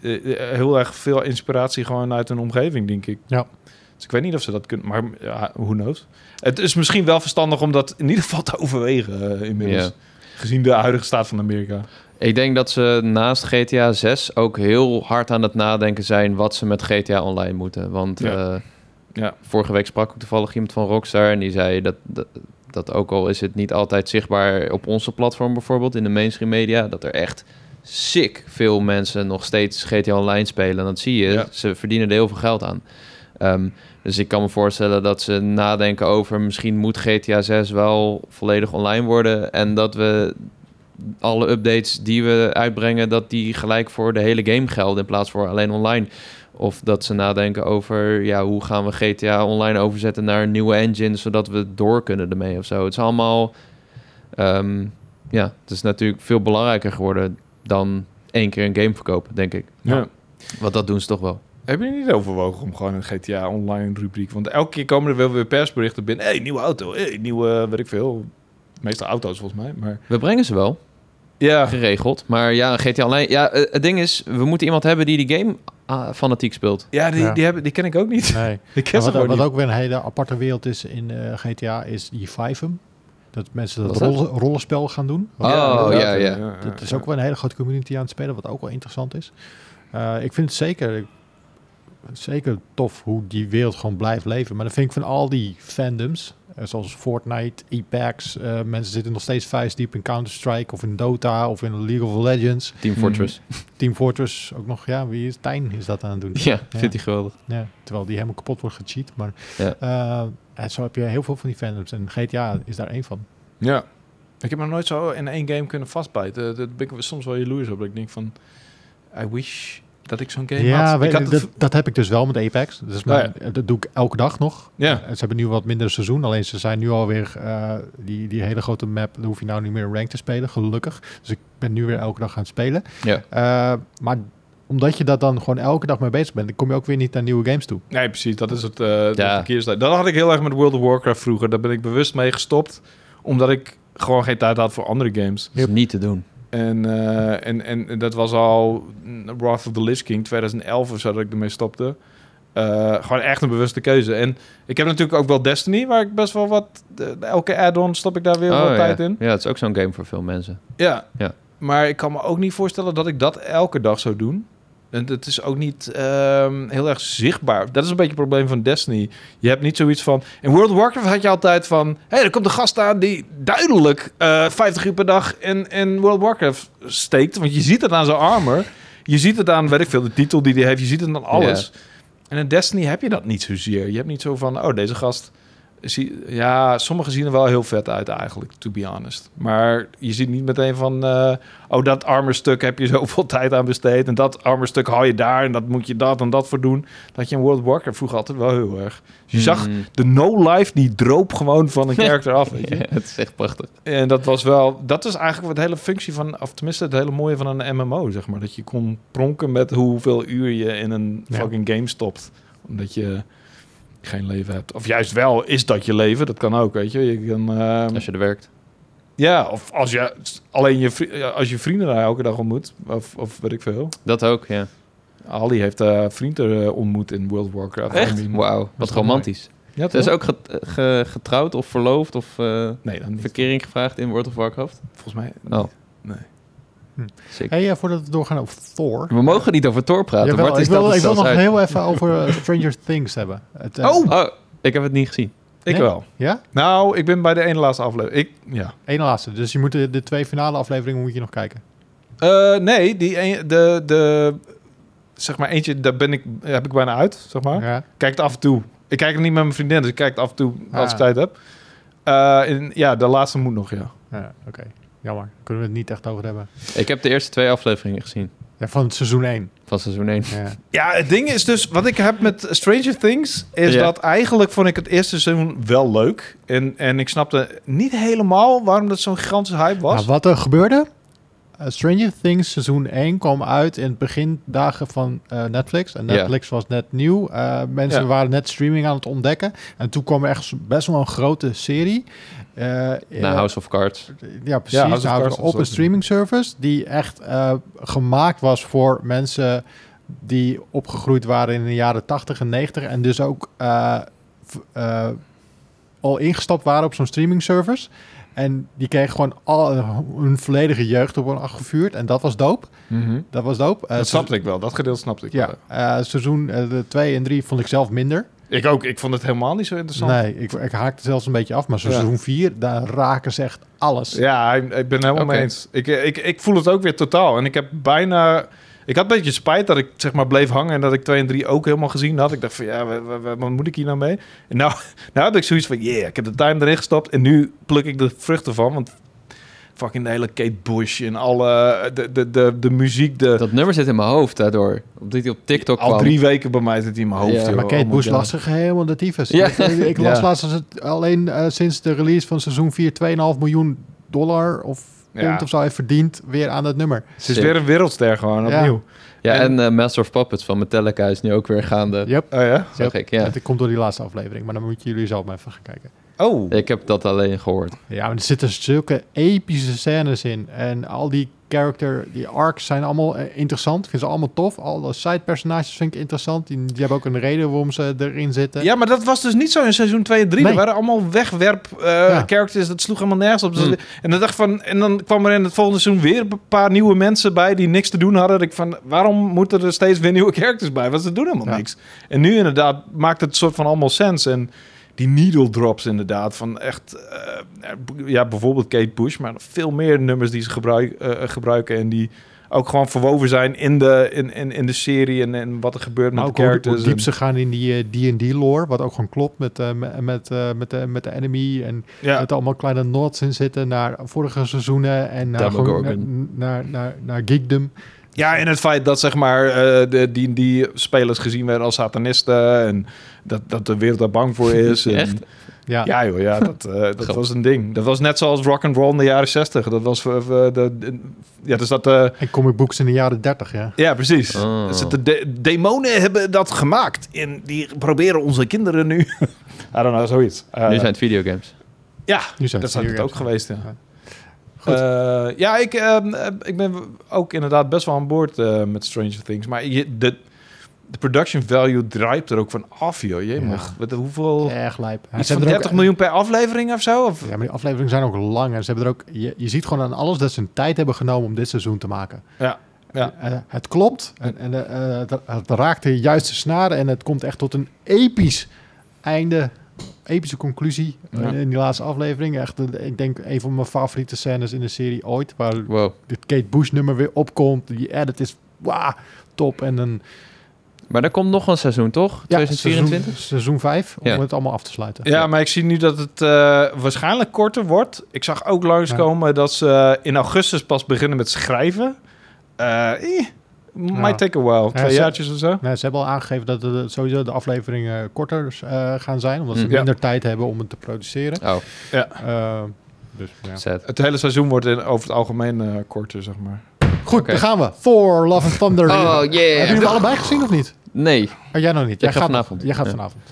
Speaker 3: eh, eh, heel erg veel inspiratie gewoon uit hun omgeving, denk ik.
Speaker 2: Ja.
Speaker 3: Dus ik weet niet of ze dat kunnen. Maar ja, who knows. Het is misschien wel verstandig om dat in ieder geval te overwegen eh, inmiddels.
Speaker 1: Ja.
Speaker 3: Gezien de huidige staat van Amerika.
Speaker 1: ik denk dat ze naast GTA 6 ook heel hard aan het nadenken zijn wat ze met GTA Online moeten. Want
Speaker 3: Ja.
Speaker 1: eh,
Speaker 3: Ja.
Speaker 1: vorige week sprak ik toevallig iemand van Rockstar en die zei dat, dat, dat ook al is het niet altijd zichtbaar op onze platform bijvoorbeeld, in de mainstream media, dat er echt sick veel mensen nog steeds GTA Online spelen. En dat zie je,
Speaker 3: Ja.
Speaker 1: ze verdienen er heel veel geld aan. Ehm, dus ik kan me voorstellen dat ze nadenken over misschien moet GTA 6 wel volledig online worden en dat we alle updates die we uitbrengen, dat die gelijk voor de hele game gelden in plaats voor alleen online. Of dat ze nadenken over ja, hoe gaan we GTA online overzetten naar een nieuwe engine, zodat we door kunnen ermee of zo. Het is allemaal. ehm, ja, het is natuurlijk veel belangrijker geworden dan één keer een game verkopen, denk ik.
Speaker 2: Ja.
Speaker 1: Want dat doen ze toch wel.
Speaker 3: Heb je niet overwogen om gewoon een GTA Online rubriek? Want elke keer komen er wel weer persberichten binnen. hey, nieuwe auto. hey, nieuwe, eh, weet ik veel. De meeste auto's volgens mij. Maar
Speaker 1: We brengen ze wel,
Speaker 3: ja,
Speaker 1: geregeld. Maar ja, GTA Online. Ja, eh, het ding is, we moeten iemand hebben die die game ah, fanatiek speelt.
Speaker 3: ja, die,
Speaker 2: Ja.
Speaker 3: Die, hebben, die ken ik ook (laughs) niet.
Speaker 2: Nee.
Speaker 3: Ik ken ze
Speaker 2: wat,
Speaker 3: gewoon
Speaker 2: wat
Speaker 3: niet.
Speaker 2: ook weer een hele aparte wereld is in eh, GTA is die 5 Dat mensen dat,
Speaker 1: Wat is dat?
Speaker 2: rollen- rollenspel gaan doen.
Speaker 1: Oh,
Speaker 2: inderdaad.
Speaker 1: ja, ja.
Speaker 2: Het is ook wel een hele grote community aan het spelen, wat ook wel interessant is. Eh, ik vind het zeker, zeker tof hoe die wereld gewoon blijft leven. Maar dan vind ik van al die fandoms, Eh, zoals Fortnite, Apex. eh, mensen zitten nog steeds vuist diep in Counter-Strike of in Dota of in League of Legends.
Speaker 1: Team Fortress.
Speaker 2: Team Fortress ook nog. Ja, wie is Tijn is dat aan het doen.
Speaker 1: (laughs) Ja, vindt hij geweldig.
Speaker 2: Ja, terwijl die helemaal kapot wordt gecheat. Maar
Speaker 1: Ja.
Speaker 2: eh, en zo heb je heel veel van die fandoms. En GTA is daar één van.
Speaker 3: Ja. Ik heb nog nooit zo in één game kunnen vastbijten. Eh, Daar ben ik soms wel jaloers op. Dat ik denk van, I wish dat ik zo'n game
Speaker 2: Ja,
Speaker 3: had.
Speaker 2: weet,
Speaker 3: ik had
Speaker 2: dat,
Speaker 3: het v-
Speaker 2: dat heb ik dus wel met Apex. Dat, is mijn- dat doe ik elke dag nog.
Speaker 3: Ja.
Speaker 2: Eh, Ze hebben nu wat minder seizoen. Alleen ze zijn nu alweer eh, die, die hele grote map. Dan hoef je nou niet meer rank te spelen, gelukkig. Dus ik ben nu weer elke dag aan het spelen.
Speaker 1: Ja.
Speaker 2: Eh, maar omdat je dat dan gewoon elke dag mee bezig bent, dan kom je ook weer niet naar nieuwe games toe.
Speaker 3: Nee, precies. Dat is het eh de
Speaker 1: Ja.
Speaker 3: verkeersleid. Dat had ik heel erg met World of Warcraft vroeger. Daar ben ik bewust mee gestopt. Omdat ik gewoon geen tijd had voor andere games.
Speaker 1: Dat is niet te doen.
Speaker 3: En, eh, en, en dat was al mm, Wrath of the Lich King 2011 of zo dat ik ermee stopte. Eh, gewoon echt een bewuste keuze. En ik heb natuurlijk ook wel Destiny, waar ik best wel wat... de- elke add-on stop ik daar weer wat
Speaker 1: Oh, ja.
Speaker 3: tijd in.
Speaker 1: Ja, het is ook zo'n game voor veel mensen.
Speaker 3: Ja.
Speaker 1: Ja.
Speaker 3: Maar ik kan me ook niet voorstellen dat ik dat elke dag zou doen. En het is ook niet ehm, heel erg zichtbaar. Dat is een beetje het probleem van Destiny. Je hebt niet zoiets van... In World of Warcraft had je altijd van... Hé, hey, er komt een gast aan die duidelijk eh 50 uur per dag in, in World of Warcraft steekt. Want je ziet het aan zijn armor. Je ziet het aan, weet ik veel, de titel die hij heeft. Je ziet het aan alles. En in Destiny heb je dat niet zozeer. Je hebt niet zo van... Oh, deze gast... Zie, ja, sommigen zien er wel heel vet uit eigenlijk, to be honest. Maar je ziet niet meteen van... eh, oh, dat armorstuk heb je (laughs) zoveel tijd aan besteed... en dat armorstuk haal je daar en dat moet je dat en dat voor doen. Dat je in World of Warcraft vroeger altijd wel heel erg... Dus je zag
Speaker 1: Mm. (laughs)
Speaker 3: de no-life, die droop gewoon van een karakter af. Weet je?
Speaker 1: Ja, het is echt prachtig.
Speaker 3: En dat was wel... Dat is eigenlijk wat de hele functie van... of tenminste het hele mooie van een MMO, zeg maar. Dat je kon pronken met hoeveel uur je in een
Speaker 2: Ja.
Speaker 3: fucking game stopt. Omdat je geen leven hebt. Of juist wel, is dat je leven. Dat kan ook, weet je. je kan, ehm,
Speaker 1: Als je er werkt.
Speaker 3: Ja, of als je alleen je, vri- ja, als je vrienden daar elke dag ontmoet. Of, of weet ik veel.
Speaker 1: Dat ook, ja.
Speaker 3: Ali heeft eh vrienden eh, ontmoet in World of Warcraft. I mean,
Speaker 1: Wauw,
Speaker 3: Dat
Speaker 1: wat
Speaker 3: is wel mooi.
Speaker 1: romantisch.
Speaker 3: Ja,
Speaker 1: Ze is
Speaker 3: toch?
Speaker 1: ook get- ge- getrouwd of verloofd of eh,
Speaker 3: Nee, dan niet.
Speaker 1: verkering gevraagd in World of Warcraft.
Speaker 3: Volgens mij...
Speaker 1: Oh.
Speaker 3: Nee.
Speaker 1: Sick.
Speaker 2: Hey, eh, voordat we doorgaan over Thor.
Speaker 1: We mogen niet over Thor praten.
Speaker 2: Jawel,
Speaker 1: Bart is
Speaker 2: ik wil,
Speaker 1: dat dus
Speaker 2: ik wil nog
Speaker 1: uit.
Speaker 2: heel even over eh, Stranger Things hebben. Het, eh,
Speaker 3: Oh!
Speaker 1: Oh, ik heb het niet gezien.
Speaker 3: Ik
Speaker 2: Nee?
Speaker 3: wel.
Speaker 2: Ja?
Speaker 3: Nou, ik ben bij de ene laatste aflevering. Ik, ja.
Speaker 2: Eén laatste. Dus je moet de, de twee finale afleveringen moet je nog kijken.
Speaker 3: Eh, nee, die een, de, de, zeg maar eentje, daar ben ik, heb ik bijna uit, zeg maar.
Speaker 2: Ja.
Speaker 3: Kijk het af en toe. Ik kijk het niet met mijn vriendin, dus ik kijk het af en toe als ik
Speaker 2: Ah.
Speaker 3: tijd heb. Eh, en ja, de laatste moet nog, ja.
Speaker 2: Ja, Oké, jammer. Kunnen we het niet echt over hebben.
Speaker 1: Ik heb de eerste twee afleveringen gezien
Speaker 2: Ja, van seizoen 1.
Speaker 1: van seizoen 1.
Speaker 2: Ja.
Speaker 3: Ja, het ding is dus, wat ik heb met Stranger Things, is
Speaker 1: Ja.
Speaker 3: dat eigenlijk vond ik het eerste seizoen wel leuk. En, en ik snapte niet helemaal waarom dat zo'n gigantische hype was.
Speaker 2: Nou, wat er gebeurde? eh, Stranger Things seizoen 1 kwam uit in het begindagen van eh, Netflix. En
Speaker 1: Ja.
Speaker 2: Netflix was net nieuw. Eh, mensen
Speaker 3: Ja.
Speaker 2: waren net streaming aan het ontdekken. En toen kwam er echt best wel een grote serie. Eh,
Speaker 1: Na
Speaker 2: eh,
Speaker 1: House of Cards.
Speaker 2: Ja, precies.
Speaker 3: Ja, House of
Speaker 2: Nou,
Speaker 3: Cards was
Speaker 2: op
Speaker 3: ook
Speaker 2: een
Speaker 3: een-
Speaker 2: streaming service die echt eh, gemaakt was voor mensen die opgegroeid waren in de jaren 80 en 90 en dus ook eh, v- eh, al ingestapt waren op zo'n streaming service. En die kregen gewoon al hun volledige jeugd op een afgevuurd. En dat was doop. Dat was doop. Eh,
Speaker 3: Mhm. dat
Speaker 2: seizoen-
Speaker 3: snapte ik wel, dat gedeelte snapte ik
Speaker 2: Ja,
Speaker 3: wel.
Speaker 2: eh, seizoen 2 en 3 vond ik zelf minder.
Speaker 3: Ik ook, ik vond het helemaal niet zo interessant.
Speaker 2: Nee, ik, ik haakte zelfs een beetje af. Maar
Speaker 3: Ja.
Speaker 2: seizoen 4, daar raken ze echt alles.
Speaker 3: Ja, ik, ik ben helemaal
Speaker 1: Oké.
Speaker 3: mee eens. Ik, ik, ik voel het ook weer totaal. En ik heb bijna... Ik had een beetje spijt dat ik zeg maar bleef hangen... en dat ik 2 en 3 ook helemaal gezien had. Ik dacht van, ja, wa- wa- wa- wat moet ik hier nou mee? En nou, (laughs) nou heb ik zoiets van, yeah, ik heb de time erin gestopt... en nu pluk ik de vruchten van, want... fucking de hele Kate Bush en alle... de, de, de, de muziek, de...
Speaker 1: Dat nummer zit in mijn hoofd daardoor. Omdat hij op TikTok
Speaker 3: al
Speaker 1: kwam.
Speaker 3: drie weken bij mij zit die in mijn hoofd.
Speaker 1: Ja,
Speaker 3: joh.
Speaker 2: maar
Speaker 3: Oh
Speaker 2: Kate
Speaker 3: my
Speaker 2: Bush
Speaker 3: God.
Speaker 2: las zich helemaal de tyfus.
Speaker 1: Ja.
Speaker 2: Ik, ik- ik las
Speaker 3: (laughs) Ja.
Speaker 2: laatst als het alleen eh, sinds de release van seizoen 4 2,5 miljoen dollar of
Speaker 3: Ja.
Speaker 2: pond of zo heeft verdiend weer aan dat nummer.
Speaker 3: Ze is weer een wereldster gewoon,
Speaker 2: Ja.
Speaker 3: opnieuw.
Speaker 1: Ja,
Speaker 3: En-
Speaker 1: en eh, Master of Puppets van Metallica is nu ook weer gaande.
Speaker 2: Yep.
Speaker 3: Oh ja?
Speaker 1: Zag ik, ja.
Speaker 2: Dat komt door die laatste aflevering, maar dan moeten jullie zelf maar even gaan kijken.
Speaker 3: Oh.
Speaker 1: Ik heb dat alleen gehoord.
Speaker 2: Ja, maar er zitten zulke epische scènes in en al die character, die arcs zijn allemaal eh, interessant. Ik vind ze allemaal tof. Alle side-personages vind ik interessant. Die, die hebben ook een reden waarom ze erin zitten.
Speaker 3: Ja, maar dat was dus niet zo in seizoen 2 en 3.
Speaker 2: Nee.
Speaker 3: Er waren allemaal wegwerp eh, characters. Dat sloeg helemaal nergens op. Dus-
Speaker 2: Hmm.
Speaker 1: Mm.
Speaker 3: En, dan dacht ik van, en dan kwam er in het volgende seizoen weer een paar nieuwe mensen bij... die niks te doen hadden. Dat Ik van, waarom moeten er steeds weer nieuwe characters bij? Want ze doen helemaal
Speaker 2: Ja.
Speaker 3: niks. En nu inderdaad maakt het soort van allemaal sens. En die needle drops inderdaad. Van echt, eh, ja, bijvoorbeeld Kate Bush, maar veel meer nummers die ze gebruik, eh, gebruiken en die ook gewoon verwoven zijn in de, in, in, in de serie en, en wat er gebeurt
Speaker 2: Maar
Speaker 3: met
Speaker 2: ook
Speaker 3: de
Speaker 2: hoe- hoe,
Speaker 3: characters.
Speaker 2: diep ze
Speaker 3: en-
Speaker 2: gaan in die eh, D&D lore, wat ook gewoon klopt met, eh, me- met, eh, met, de- met de enemy en
Speaker 3: ja.
Speaker 2: dat er allemaal kleine nods in zitten naar vorige seizoenen en naar, gewoon-
Speaker 1: Demogorgon.
Speaker 2: naar, naar, naar, naar geekdom.
Speaker 3: Ja, en het feit dat zeg maar, eh, de, die, die spelers gezien werden als satanisten en dat, dat de wereld daar bang
Speaker 1: (laughs)
Speaker 3: voor is. en-
Speaker 1: Echt?
Speaker 2: Ja,
Speaker 3: Ja, joh, ja, dat, eh, dat
Speaker 1: Grappig.
Speaker 3: was een ding. Dat was net zoals rock and roll in de jaren 60. Dat was eh, eh, de, de- ja, dus dat eh,
Speaker 2: en comic books in de jaren 30, ja.
Speaker 3: ja, precies.
Speaker 1: Oh.
Speaker 3: Dus de de- demonen hebben dat gemaakt en die proberen onze kinderen nu. (laughs) I don't know, zoiets. Eh,
Speaker 1: Nu zijn het videogames.
Speaker 3: ja,
Speaker 2: Nu zijn
Speaker 3: dat zijn het ook
Speaker 2: serieus.
Speaker 3: geweest. Ja,
Speaker 2: Ja. Goed.
Speaker 3: Eh, ja ik, ehm, eh, ik ben ook inderdaad best wel aan boord eh, met Stranger Things. Maar je, de, de production value draait er ook van af, joh. Jee, mag. Wat- Hoeveel?
Speaker 2: Erg lijp. En
Speaker 3: Iets
Speaker 2: ze
Speaker 3: van
Speaker 2: hebben er ook-
Speaker 3: 30 miljoen per aflevering of zo? Of?
Speaker 2: Ja, maar die afleveringen zijn ook lang. En ze hebben er ook, je, je ziet gewoon aan alles dat ze hun tijd hebben genomen om dit seizoen te maken.
Speaker 3: Ja, ja.
Speaker 2: Eh, het klopt. En, en eh, eh, het raakt de juiste snaren. En het komt echt tot een episch einde. Epische conclusie
Speaker 3: Ja.
Speaker 2: in, in die laatste aflevering. Echt, eh, ik denk een van mijn favoriete scènes in de serie ooit. Waar
Speaker 1: Wow.
Speaker 2: dit Kate Bush nummer weer opkomt. Die edit is wauw, top. En dan
Speaker 1: Maar er komt nog een seizoen, toch?
Speaker 2: ja,
Speaker 1: 2024?
Speaker 2: Seizoen, seizoen 5.
Speaker 1: Ja.
Speaker 2: Om het allemaal af te sluiten.
Speaker 3: Ja, maar ik zie nu dat het eh, waarschijnlijk korter wordt. Ik zag ook langskomen dat ze eh, in augustus pas beginnen met schrijven. Eh, eh, might
Speaker 2: Ja.
Speaker 3: take a while. Twee
Speaker 2: ze-
Speaker 3: jaartjes of zo.
Speaker 2: Nou, ze hebben al aangegeven dat de, sowieso de afleveringen korter eh, gaan zijn. Omdat ze
Speaker 1: Mm.
Speaker 3: Ja.
Speaker 2: minder tijd hebben om het te produceren.
Speaker 1: Oh,
Speaker 2: Eh, dus, ja.
Speaker 1: zet.
Speaker 3: Het hele seizoen wordt in, over het algemeen eh, korter, zeg maar.
Speaker 2: Goed,
Speaker 1: Oké.
Speaker 2: daar gaan we. For Love and Thunder.
Speaker 1: Oh,
Speaker 2: Hebben jullie
Speaker 1: yeah.
Speaker 2: hem allebei gezien of niet?
Speaker 1: Nee.
Speaker 2: Oh, jij nog niet.
Speaker 1: Ik ga
Speaker 2: gaat
Speaker 1: vanavond.
Speaker 2: Jij gaat
Speaker 1: Ja.
Speaker 2: vanavond.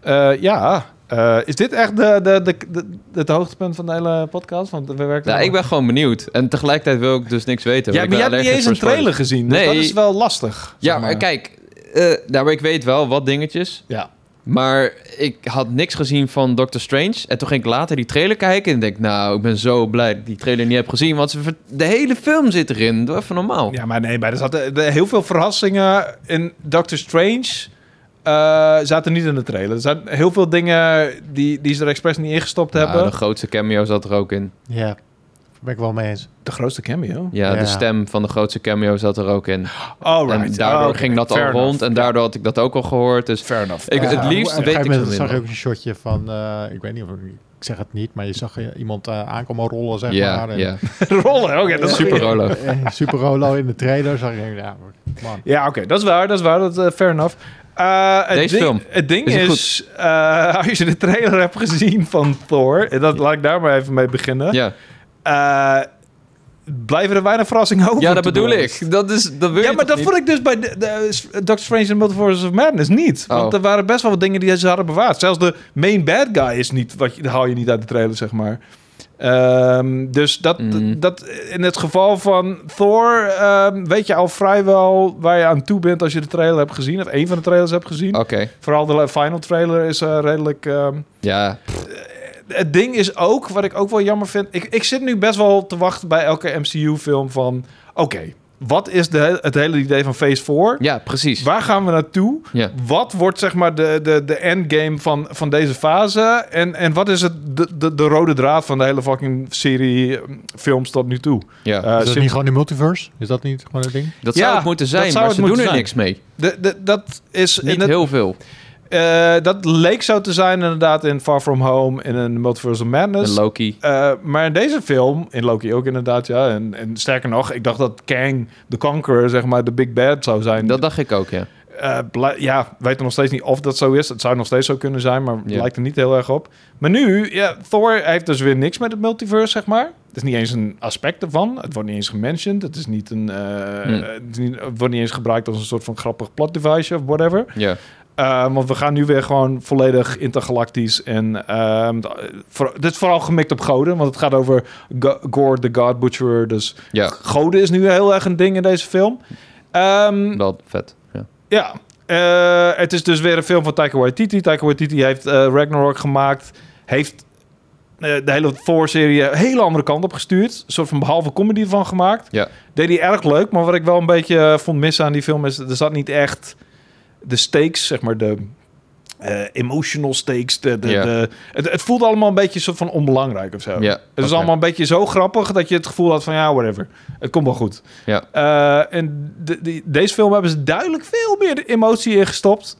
Speaker 3: Eh, ja, Eh, is dit echt de, de, de, de- het hoogtepunt van de hele podcast? Want we werken...
Speaker 1: Nou, ik ben gewoon benieuwd. En tegelijkertijd wil ik dus niks weten.
Speaker 3: Ja,
Speaker 1: want
Speaker 3: maar jij
Speaker 1: ik ben
Speaker 3: hebt niet
Speaker 1: allergisch
Speaker 3: eens een
Speaker 1: voor
Speaker 3: trailer gezien. Dus
Speaker 1: Nee.
Speaker 3: dat is wel lastig.
Speaker 1: spoilers. Ja,
Speaker 3: zeg
Speaker 1: maar kijk. eh, nou, maar ik weet wel wat dingetjes.
Speaker 3: Ja.
Speaker 1: Maar ik had niks gezien van Doctor Strange. En toen ging ik later die trailer kijken. En ik denk, nou, ik ben zo blij dat ik die trailer niet heb gezien. Want ze ver- de hele film zit erin. Doe even normaal.
Speaker 3: Ja, maar nee, maar er zaten er- heel veel verrassingen in Doctor Strange. eh, zaten niet in de trailer. Er zijn heel veel dingen die, die ze er expres niet ingestopt
Speaker 1: Nou,
Speaker 3: hebben.
Speaker 1: de
Speaker 3: De,
Speaker 1: grootste cameo zat er ook in.
Speaker 2: Ja, daar ben ik wel mee eens.
Speaker 3: grootste cameo.
Speaker 1: Ja,
Speaker 2: Ja.
Speaker 1: de stem van de grootste cameo zat er ook in.
Speaker 3: Alright.
Speaker 1: En daardoor
Speaker 3: Oké,
Speaker 1: ging dat al
Speaker 3: Oh, fair enough.
Speaker 1: rond. En daardoor had ik dat ook al gehoord. Dus
Speaker 3: Fair enough.
Speaker 1: Ik-
Speaker 2: Ja,
Speaker 1: het liefst
Speaker 2: Eh, op een
Speaker 1: weet
Speaker 2: gegeven
Speaker 1: ik
Speaker 2: moment
Speaker 1: het
Speaker 2: zag je
Speaker 1: minder.
Speaker 2: ook een shotje van, eh, ik weet niet of ik zeg het niet, maar je zag eh, iemand eh, aankomen rollen, zeg
Speaker 1: ja,
Speaker 2: maar. En,
Speaker 1: ja.
Speaker 3: (laughs) Rollen, oké. dat is
Speaker 1: Super
Speaker 2: (laughs)
Speaker 3: super.
Speaker 1: Rolo.
Speaker 2: eh, Super Rolo in de trailer. Zag ik, ja, man.
Speaker 3: Ja, oké. dat is waar. Dat is waar. Dat, eh, fair enough. Eh, het
Speaker 1: Deze
Speaker 3: ding,
Speaker 1: film.
Speaker 3: Het ding
Speaker 1: Is
Speaker 3: is,
Speaker 1: het
Speaker 3: eh, (laughs) als je de trailer hebt gezien van Thor... en dat, laat ik daar maar even mee beginnen...
Speaker 1: Ja,
Speaker 3: eh, blijven er weinig verrassingen over.
Speaker 1: ja dat
Speaker 3: te
Speaker 1: bedoel
Speaker 3: doen.
Speaker 1: ik. Dat, is, dat wil
Speaker 3: Ja,
Speaker 1: je
Speaker 3: maar
Speaker 1: toch
Speaker 3: dat
Speaker 1: niet?
Speaker 3: vond ik dus bij de, de- Doctor Strange and Multiverse of Madness niet. Want
Speaker 1: Oh.
Speaker 3: er waren best wel wat dingen die ze hadden bewaard. Zelfs de main bad guy is niet, wat je, dat haal je niet uit de trailer, zeg maar. Ehm, dus dat,
Speaker 1: Mm.
Speaker 3: dat in het geval van Thor ehm, weet je al vrijwel waar je aan toe bent als je de trailer hebt gezien. Of één van de trailers hebt gezien.
Speaker 1: Oké,
Speaker 3: Vooral de final trailer is eh, redelijk... ehm,
Speaker 1: ja.
Speaker 3: het ding is ook, wat ik ook wel jammer vind. Ik, ik zit nu best wel te wachten bij elke MCU-film van. Oké, wat is de, he- het hele idee van Phase 4?
Speaker 1: ja, precies.
Speaker 3: Waar gaan we naartoe?
Speaker 1: Ja.
Speaker 3: Wat wordt zeg maar de, de, de endgame van, van deze fase? En, en wat is het, de, de, de rode draad van de hele fucking serie eh, films tot nu toe?
Speaker 1: Ja.
Speaker 3: Eh,
Speaker 2: is dat
Speaker 3: sim-
Speaker 2: niet gewoon de multiverse? Is dat niet gewoon het ding?
Speaker 1: dat
Speaker 3: ja,
Speaker 1: zou het moeten zijn,
Speaker 3: dat zou
Speaker 1: maar
Speaker 3: het
Speaker 1: ze doen
Speaker 3: moeten
Speaker 1: er
Speaker 3: zijn.
Speaker 1: niks mee.
Speaker 3: de, de, dat is
Speaker 1: Niet
Speaker 3: en dat-
Speaker 1: heel veel.
Speaker 3: eh, dat leek zo te zijn inderdaad in Far From Home en in Multiverse
Speaker 1: En
Speaker 3: of Madness.
Speaker 1: Loki.
Speaker 3: Eh, maar in deze film, in Loki ook inderdaad, ja. En, en sterker nog, ik dacht dat Kang de Conqueror, zeg maar, de Big Bad zou zijn.
Speaker 1: Dat dacht ik ook, ja.
Speaker 3: Eh, blij- ja, weten nog steeds niet of dat zo is. Het zou nog steeds zo kunnen zijn, maar het
Speaker 1: Ja.
Speaker 3: lijkt er niet heel erg op. Maar nu, ja, Thor heeft dus weer niks met het multiverse, zeg maar. Het is niet eens een aspect ervan. Het wordt niet eens gementiond. Het, is niet een, eh,
Speaker 1: Hmm.
Speaker 3: het, is niet- het wordt niet eens gebruikt als een soort van grappig plot device of whatever.
Speaker 1: ja.
Speaker 3: Eh, want we gaan nu weer gewoon volledig intergalactisch. En ehm, d- voor- dit is vooral gemikt op goden. Want het gaat over Go- Gore the God Butcher. Dus
Speaker 1: Ja,
Speaker 3: goden is nu heel erg een ding in deze film. Ehm,
Speaker 1: wel vet. Ja.
Speaker 3: ja, eh, het is dus weer een film van Taika Waititi. Taika Waititi heeft eh, Ragnarok gemaakt. Heeft eh, de hele Thor-serie een hele andere kant op gestuurd. Een soort van behalve comedy van gemaakt.
Speaker 1: Ja.
Speaker 3: Deed hij erg leuk. Maar wat ik wel een beetje eh, vond missen aan die film is... Er zat niet echt de stakes, zeg maar de... eh, emotional stakes. De, de,
Speaker 1: Ja.
Speaker 3: de- het, het voelde allemaal een beetje soort van onbelangrijk of zo.
Speaker 1: Ja,
Speaker 3: het is
Speaker 1: oké.
Speaker 3: allemaal een beetje zo grappig dat je het gevoel had van ja, whatever. Het komt wel goed.
Speaker 1: Ja.
Speaker 3: Eh, en de- die- deze film hebben ze duidelijk veel meer emotie in gestopt.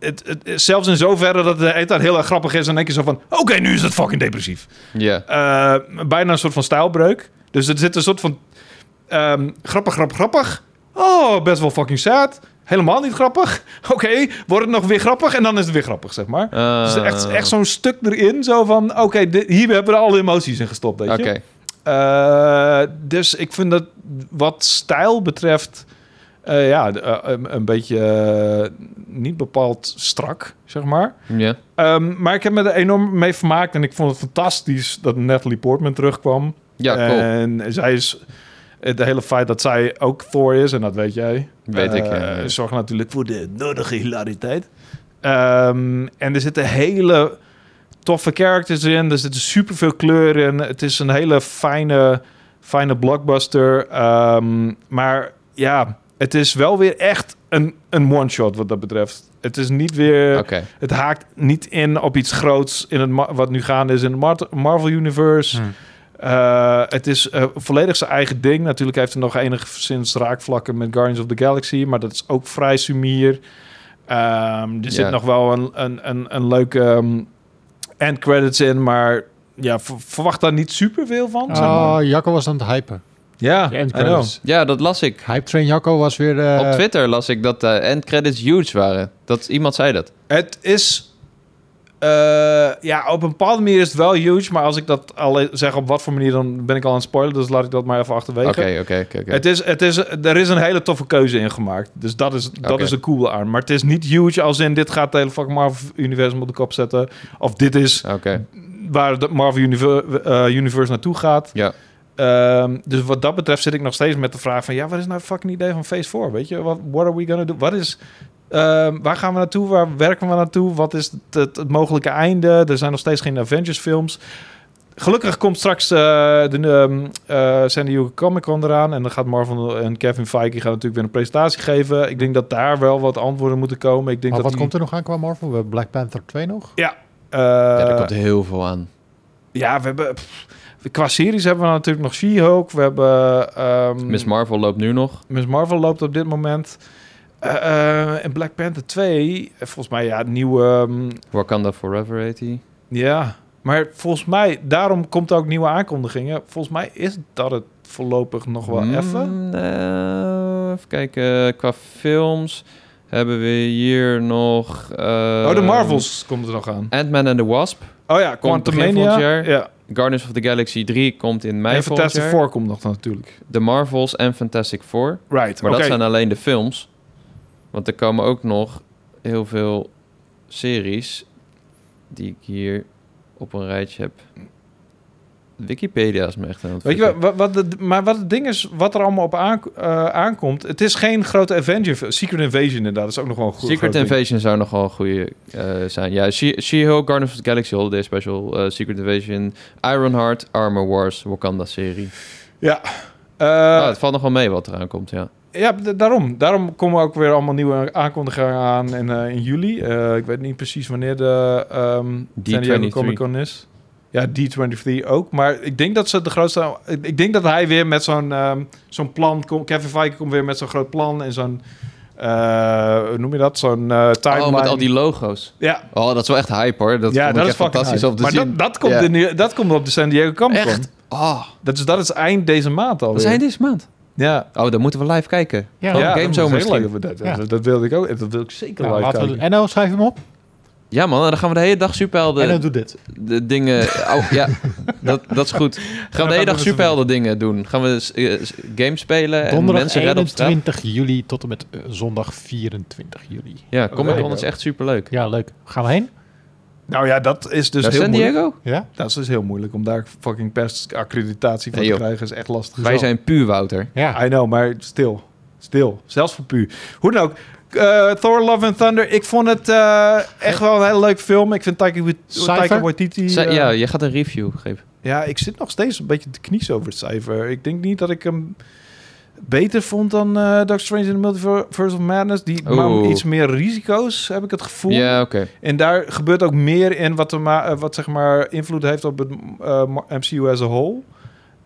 Speaker 3: Het, het- het- zelfs in zoverre dat het de hele tijd heel erg grappig is. En denk je zo van, oké, nu is het fucking depressief.
Speaker 1: Ja.
Speaker 3: Eh, bijna een soort van stijlbreuk. Dus er zit een soort van ehm, grappig, grappig, grappig. Oh, best wel fucking sad. Helemaal niet grappig. (laughs) Oké, wordt het nog weer grappig en dan is het weer grappig, zeg maar. dus
Speaker 1: Eh,
Speaker 3: echt, echt zo'n stuk erin, zo van, oké, dit- hier hebben we alle emoties in gestopt, weet
Speaker 1: Oké.
Speaker 3: je. Eh, dus ik vind dat wat stijl betreft, eh, ja, eh, een, een beetje eh, niet bepaald strak, zeg maar.
Speaker 1: Ja.
Speaker 3: Ehm, maar ik heb me er enorm mee vermaakt. En ik vond het fantastisch dat Natalie Portman terugkwam.
Speaker 1: Ja, cool.
Speaker 3: En zij is... Het hele feit dat zij ook Thor is, en dat weet jij.
Speaker 1: Weet ik,
Speaker 3: eh,
Speaker 1: ja.
Speaker 3: Zorgt natuurlijk voor de nodige hilariteit. Ehm, en er zitten hele toffe characters in. Er zitten superveel kleur in. Het is een hele fijne, fijne blockbuster. Ehm, maar ja, het is wel weer echt een, een one-shot wat dat betreft. Het is niet weer...
Speaker 1: Oké.
Speaker 3: Het haakt niet in op iets groots in het ma- wat nu gaande is in het Mar- Marvel
Speaker 1: Hm.
Speaker 3: Universe. Eh, het is eh, volledig zijn eigen ding. Natuurlijk heeft hij nog enigszins raakvlakken met Guardians of the Galaxy, maar dat is ook vrij sumier. Ehm, er zit
Speaker 1: Ja.
Speaker 3: nog wel een, een, een, een leuke ehm, end credits in, maar ja, v- verwacht daar niet superveel van. zeg maar.
Speaker 2: Oh, Jacco was aan het hypen.
Speaker 3: ja,
Speaker 2: De
Speaker 3: I
Speaker 2: end
Speaker 3: know.
Speaker 2: credits.
Speaker 1: Ja, dat las ik.
Speaker 2: Hype Train Jacco was weer... eh,
Speaker 1: Op Twitter las ik dat de endcredits huge waren. Dat, iemand zei dat.
Speaker 3: Het is. eh, ja, op een bepaalde manier is het wel huge. Maar als ik dat al zeg op wat voor manier, dan ben ik al aan het spoilen. Dus laat ik dat maar even achterwege.
Speaker 1: Oké, oké, oké, oké.
Speaker 3: Het is, het is, er is een hele toffe keuze in gemaakt. Dus dat is, dat
Speaker 1: Oké.
Speaker 3: is een coole arm. Maar het is niet huge als in dit gaat het hele fucking Marvel-universum op de kop zetten. Of dit is
Speaker 1: Oké.
Speaker 3: waar de Marvel-universe naartoe gaat.
Speaker 1: Ja.
Speaker 3: Ehm, dus wat dat betreft zit ik nog steeds met de vraag van... ja, wat is nou het fucking idee van Phase 4? Weet je, what, what are we gonna do? Wat is, ehm, waar gaan we naartoe? Waar werken we naartoe? Wat is het, het- het mogelijke einde? Er zijn nog steeds geen Avengers-films. Gelukkig komt straks eh, de ehm, eh, San Diego Comic-Con eraan... en dan gaat Marvel en Kevin Feige gaan natuurlijk weer een presentatie geven. Ik denk dat daar wel wat antwoorden moeten komen. Ik denk
Speaker 2: maar
Speaker 3: dat
Speaker 2: wat
Speaker 3: die-
Speaker 2: komt er nog aan qua Marvel? We hebben Black Panther 2 nog.
Speaker 3: eh,
Speaker 1: ja, Oh, er komt heel veel aan.
Speaker 3: mm. ja, we hebben... pff, qua series hebben we natuurlijk nog She-Hulk. We hebben... ehm,
Speaker 1: Miss Marvel loopt nu nog.
Speaker 3: Miss Marvel loopt op dit moment. Eh, eh, en Black Panther 2, eh, volgens mij ja, het nieuwe... ehm,
Speaker 1: Wakanda Forever 80.
Speaker 3: ja, maar volgens mij, daarom komt ook nieuwe aankondigingen. Volgens mij is dat het voorlopig nog wel
Speaker 1: Mm,
Speaker 3: even.
Speaker 1: eh, even kijken. Qua films hebben we hier nog... eh,
Speaker 3: oh, de Marvels komt er nog aan.
Speaker 1: Ant-Man and the Wasp.
Speaker 3: Oh ja,
Speaker 1: Komt begin
Speaker 3: Quantumania.
Speaker 1: volgend jaar.
Speaker 3: Ja.
Speaker 1: Guardians of the Galaxy 3 komt in mei
Speaker 3: En
Speaker 1: volgend
Speaker 3: Fantastic
Speaker 1: jaar.
Speaker 3: Four komt nog dan natuurlijk.
Speaker 1: De Marvels en Fantastic Four.
Speaker 3: Right,
Speaker 1: Maar
Speaker 3: oké.
Speaker 1: dat zijn alleen de films. Want er komen ook nog heel veel series die ik hier op een rijtje heb. Wikipedia is me echt aan het
Speaker 3: Weet je
Speaker 1: vertellen.
Speaker 3: wat, wat de, maar wat het ding is, wat er allemaal op aank- eh, aankomt... Het is geen grote Avenger... Secret Invasion inderdaad, is ook nog wel een goed groot
Speaker 1: Secret
Speaker 3: ding.
Speaker 1: Invasion zou nog wel een goede eh, zijn. Ja, She- She-Hulk, Guardians of the Galaxy Holiday Special, eh, Secret Invasion, Ironheart, Armor Wars, Wakanda-serie.
Speaker 3: Ja. Eh,
Speaker 1: Ah, het valt nog wel mee wat eraan komt, ja.
Speaker 3: Ja, d- daarom. Daarom komen ook weer allemaal nieuwe aankondigingen aan in, eh, in juli. Eh, ik weet niet precies wanneer de ehm San Diego
Speaker 1: D23.
Speaker 3: Comic Con is. Ja, D23 ook. Maar ik denk dat ze de grootste... Ik, ik denk dat hij weer met zo'n ehm, zo'n plan... komt. Kevin Feige komt weer met zo'n groot plan en zo'n... eh, hoe noem je dat? Zo'n eh timeline.
Speaker 1: Oh, met al die logo's.
Speaker 3: Ja,
Speaker 1: Oh, dat is wel echt hype, hoor. Dat
Speaker 3: ja
Speaker 1: vond
Speaker 3: dat
Speaker 1: ik
Speaker 3: is
Speaker 1: echt
Speaker 3: fucking
Speaker 1: fantastisch
Speaker 3: hype.
Speaker 1: om te
Speaker 3: Maar
Speaker 1: zien.
Speaker 3: dat, dat, komt
Speaker 1: Ja.
Speaker 3: er nu- dat komt op de San Diego Comic Con.
Speaker 1: Echt? Oh,
Speaker 3: Dat is, dat is eind deze maand alweer.
Speaker 1: dat zijn deze maand.
Speaker 3: Ja.
Speaker 1: Oh, dan moeten we live kijken.
Speaker 2: Ja, Oh,
Speaker 1: Gewoon
Speaker 3: dat
Speaker 1: Game
Speaker 3: is
Speaker 1: Zomer
Speaker 3: heel
Speaker 1: stream.
Speaker 3: leuk. Dat,
Speaker 2: Ja.
Speaker 3: dat, dat wilde ik ook. Dat wil ik zeker
Speaker 2: Nou,
Speaker 3: live
Speaker 2: laten we,
Speaker 3: kijken.
Speaker 2: Enno, schrijf hem op.
Speaker 1: Ja man, dan gaan we de hele dag
Speaker 2: Enno,
Speaker 1: superhelden
Speaker 2: doe dit.
Speaker 1: de
Speaker 3: (laughs)
Speaker 1: dingen... Oh ja, dat, dat is goed. Gaan
Speaker 3: gaan
Speaker 1: we de
Speaker 3: we
Speaker 1: hele dag
Speaker 3: het
Speaker 1: superhelden dingen doen. Gaan we eh, s- games spelen en
Speaker 2: Donderdag
Speaker 1: eh, mensen redden op straat.
Speaker 2: 21 juli tot en met eh, zondag 24 juli.
Speaker 1: Ja, Comic Con
Speaker 3: Oké.
Speaker 1: is echt superleuk.
Speaker 2: Ja, leuk. Gaan we heen?
Speaker 3: Nou ja, dat is dus
Speaker 1: Naar
Speaker 3: heel
Speaker 1: San
Speaker 3: moeilijk.
Speaker 1: Diego?
Speaker 2: Ja?
Speaker 3: Dat is dus heel moeilijk om daar fucking persaccreditatie voor
Speaker 1: Nee,
Speaker 3: te
Speaker 1: joh.
Speaker 3: krijgen. Is echt lastig.
Speaker 1: Wij zijn puur Wouter.
Speaker 2: Ja.
Speaker 3: I know, maar stil. Stil. Zelfs voor pu. Hoe dan ook. eh, Thor, Love and Thunder. Ik vond het eh, echt wel een hele leuke film. Ik vind Taika Wait-
Speaker 2: Cijfer?
Speaker 3: Taika Waititi...
Speaker 1: Zij-
Speaker 3: eh,
Speaker 1: ja, je gaat een review geven.
Speaker 3: ja, ik zit nog steeds een beetje te knies over het cijfer. Ik denk niet dat ik hem... beter vond dan eh Doctor Strange in the Multiverse of Madness. Die
Speaker 1: Oeh.
Speaker 3: nam iets meer risico's, heb ik het gevoel.
Speaker 1: Ja, oké.
Speaker 3: En daar gebeurt ook meer in wat, er ma- eh, wat zeg maar invloed heeft op het eh, ma- MCU as a whole.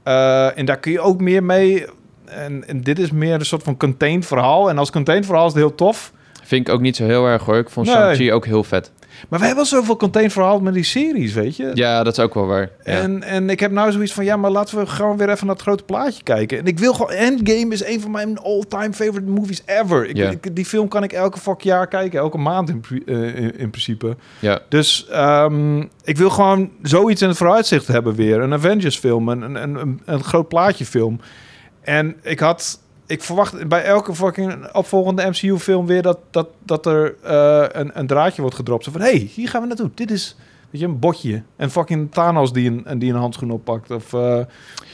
Speaker 3: Eh, en daar kun je ook meer mee. En, en dit is meer een soort van contained verhaal. En als contained verhaal is het heel tof.
Speaker 1: Vind ik ook niet zo heel erg hoor. Ik vond
Speaker 3: Nee.
Speaker 1: Shang-Chi ook heel vet.
Speaker 3: Maar we hebben wel zoveel contained verhaal met die series, weet je?
Speaker 1: Ja, dat is ook wel waar. Ja.
Speaker 3: En, en ik heb nou zoiets van, ja, maar laten we gewoon weer even naar het grote plaatje kijken. En ik wil gewoon, Endgame is een van mijn all-time favorite movies ever. Ik,
Speaker 1: Ja.
Speaker 3: ik- die film kan ik elke fuck jaar kijken, elke maand in, pri- eh, in, in principe.
Speaker 1: Ja.
Speaker 3: Dus ehm, ik wil gewoon zoiets in het vooruitzicht hebben weer. Een Avengers film, een, een, een, een groot plaatje film. En ik had... Ik verwacht bij elke fucking opvolgende MCU-film weer dat, dat, dat er eh, een, een draadje wordt gedropt. Zo van, hey, hier gaan we naartoe. Dit is, weet je, een botje. En fucking Thanos die een, een- die een handschoen oppakt. Of eh,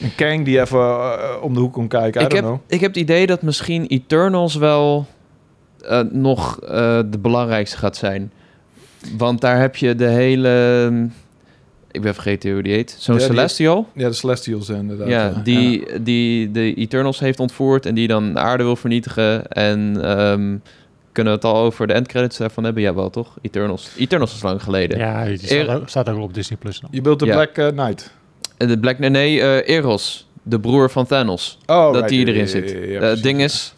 Speaker 3: een Kang die even eh, om de hoek komt kijken. I
Speaker 1: ik,
Speaker 3: don't
Speaker 1: heb,
Speaker 3: know.
Speaker 1: ik heb het idee dat misschien Eternals wel eh, nog eh, de belangrijkste gaat zijn. Want daar heb je de hele... mm, Ik ben vergeten hoe die heet. Zo'n
Speaker 3: Ja, die-
Speaker 1: Celestial.
Speaker 3: Ja, de Celestials inderdaad.
Speaker 1: ja, die, die de Eternals heeft ontvoerd en die dan de aarde wil vernietigen. En ehm, kunnen we het al over de endcredits daarvan hebben? Ja, wel toch? Eternals. Eternals is lang geleden.
Speaker 2: Ja, die staat, ook, staat ook wel op Disney Plus.
Speaker 3: Je beeldt de
Speaker 1: Ja.
Speaker 3: Black eh, Knight.
Speaker 1: En de Black... Nee, nee eh, Eros. De broer van Thanos.
Speaker 3: Oh, right.
Speaker 1: dat die
Speaker 3: Ja,
Speaker 1: erin
Speaker 3: ja,
Speaker 1: zit.
Speaker 3: ja, ja,
Speaker 1: Eh,
Speaker 3: ja,
Speaker 1: Het
Speaker 3: precies,
Speaker 1: ding
Speaker 3: ja.
Speaker 1: is,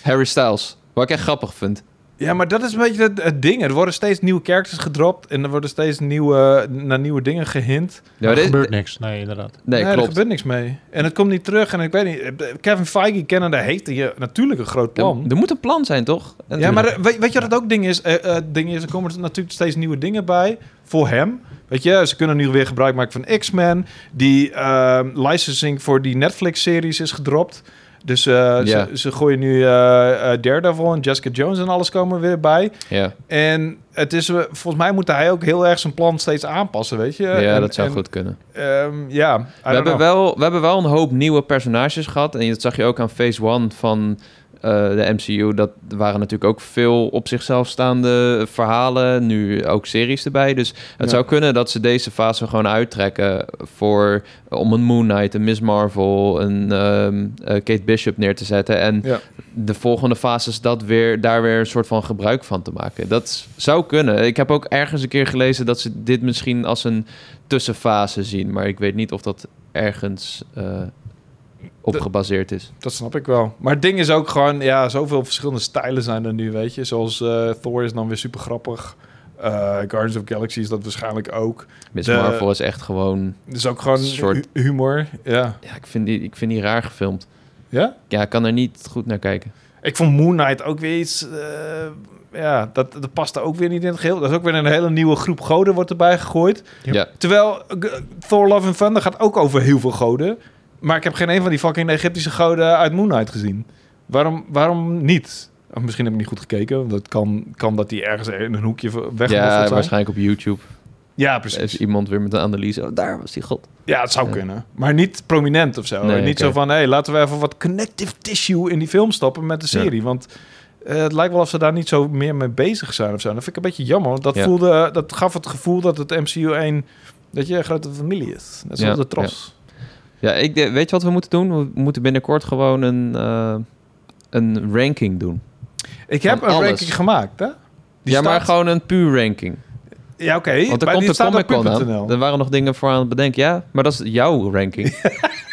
Speaker 1: Harry Styles. Wat ik echt grappig vind.
Speaker 3: Ja, maar dat is een beetje het, het ding. Er worden steeds nieuwe characters gedropt en er worden steeds nieuwe, naar nieuwe dingen gehint.
Speaker 1: Ja,
Speaker 2: er
Speaker 1: dit-
Speaker 2: gebeurt niks. Nee, inderdaad.
Speaker 1: nee,
Speaker 3: er
Speaker 1: klopt.
Speaker 3: gebeurt niks mee. En het komt niet terug. En ik weet niet, eh, Kevin Feige kennende heeft hier natuurlijk een groot plan.
Speaker 1: Er, er moet een plan zijn, toch? En-
Speaker 3: Ja, maar eh, weet, weet je wat het ook ding is? Eh, eh, ding is? Er komen er natuurlijk steeds nieuwe dingen bij voor hem. Weet je, ze kunnen nu weer gebruik maken van X-Men. Die ehm, licensing voor die Netflix-series is gedropt. Dus eh,
Speaker 1: Ja.
Speaker 3: ze, ze gooien nu eh, eh, Daredevil en Jessica Jones en alles komen weer bij.
Speaker 1: ja.
Speaker 3: En het is, eh, volgens mij moet hij ook heel erg zijn plan steeds aanpassen, weet je?
Speaker 1: ja,
Speaker 3: En-
Speaker 1: dat zou
Speaker 3: en,
Speaker 1: goed kunnen.
Speaker 3: ehm, ja, I don't
Speaker 1: We hebben,
Speaker 3: know.
Speaker 1: wel, we hebben wel een hoop nieuwe personages gehad. En dat zag je ook aan Phase 1 van eh, de MCU. Dat er waren natuurlijk ook veel op zichzelf staande verhalen. Nu ook series erbij. Dus het
Speaker 3: Ja.
Speaker 1: zou kunnen dat ze deze fase gewoon uittrekken... Voor, om een Moon Knight, een Miss Marvel, een ehm, eh, Kate Bishop neer te zetten. En
Speaker 3: Ja.
Speaker 1: de volgende fase is dat weer, daar weer een soort van gebruik van te maken. Dat zou kunnen. Ik heb ook ergens een keer gelezen dat ze dit misschien als een tussenfase zien. Maar ik weet niet of dat ergens eh, op
Speaker 3: De-
Speaker 1: gebaseerd is.
Speaker 3: Dat snap ik wel. Maar het ding is ook gewoon, ja, zoveel verschillende stijlen zijn er nu, weet je. Zoals eh, Thor is dan weer super grappig. Eh, Guardians of the Galaxy is dat waarschijnlijk ook.
Speaker 1: Miss
Speaker 3: De-
Speaker 1: Marvel is echt gewoon...
Speaker 3: Dus ook gewoon
Speaker 1: Soort-
Speaker 3: hu- humor. Ja.
Speaker 1: Ja, ik, vind die, ik vind die raar gefilmd.
Speaker 3: ja?
Speaker 1: Ja, ik kan er niet goed naar kijken.
Speaker 3: Ik vond Moon Knight ook weer iets. eh, ja, dat, dat past er ook weer niet in het geheel. Dat is ook weer een hele nieuwe groep goden wordt erbij gegooid.
Speaker 2: Ja.
Speaker 1: Ja.
Speaker 3: Terwijl eh, Thor Love and Thunder gaat ook over heel veel goden. Maar ik heb geen een van die fucking Egyptische goden uit Moon Knight gezien. Waarom, waarom niet? Of misschien heb ik niet goed gekeken. Want dat kan, kan dat die ergens in een hoekje weg
Speaker 1: Ja,
Speaker 3: zijn.
Speaker 1: waarschijnlijk op YouTube
Speaker 3: Ja,
Speaker 1: is
Speaker 3: precies.
Speaker 1: iemand weer met een analyse. Oh, daar was die god.
Speaker 3: Ja, het zou
Speaker 1: Ja.
Speaker 3: kunnen. Maar niet prominent of zo.
Speaker 1: Nee,
Speaker 3: niet
Speaker 1: oké.
Speaker 3: zo van, hé, hey, laten we even wat connective tissue in die film stoppen met de
Speaker 1: Ja.
Speaker 3: serie. Want eh, het lijkt wel of ze daar niet zo meer mee bezig zijn of zo. Dat vind ik een beetje jammer. Want dat,
Speaker 1: Ja.
Speaker 3: voelde, dat gaf het gevoel dat het MCU 1, dat je een grote familie is. Net zoals
Speaker 1: Ja,
Speaker 3: de Tros.
Speaker 1: Ja, ik, de- weet je wat we moeten doen? We moeten binnenkort gewoon een, eh, een ranking doen.
Speaker 3: Ik heb
Speaker 1: Van
Speaker 3: een
Speaker 1: alles.
Speaker 3: ranking gemaakt, hè? Die
Speaker 1: ja, maar
Speaker 3: staat-
Speaker 1: gewoon een puur ranking.
Speaker 3: Ja,
Speaker 1: Want
Speaker 3: oké.
Speaker 1: er
Speaker 3: maar die
Speaker 1: komt de
Speaker 3: staat op
Speaker 1: Comic Con aan.
Speaker 3: punt.nl.
Speaker 1: Er waren nog dingen voor aan het bedenken. Ja, maar dat is jouw
Speaker 3: (laughs)
Speaker 1: ranking.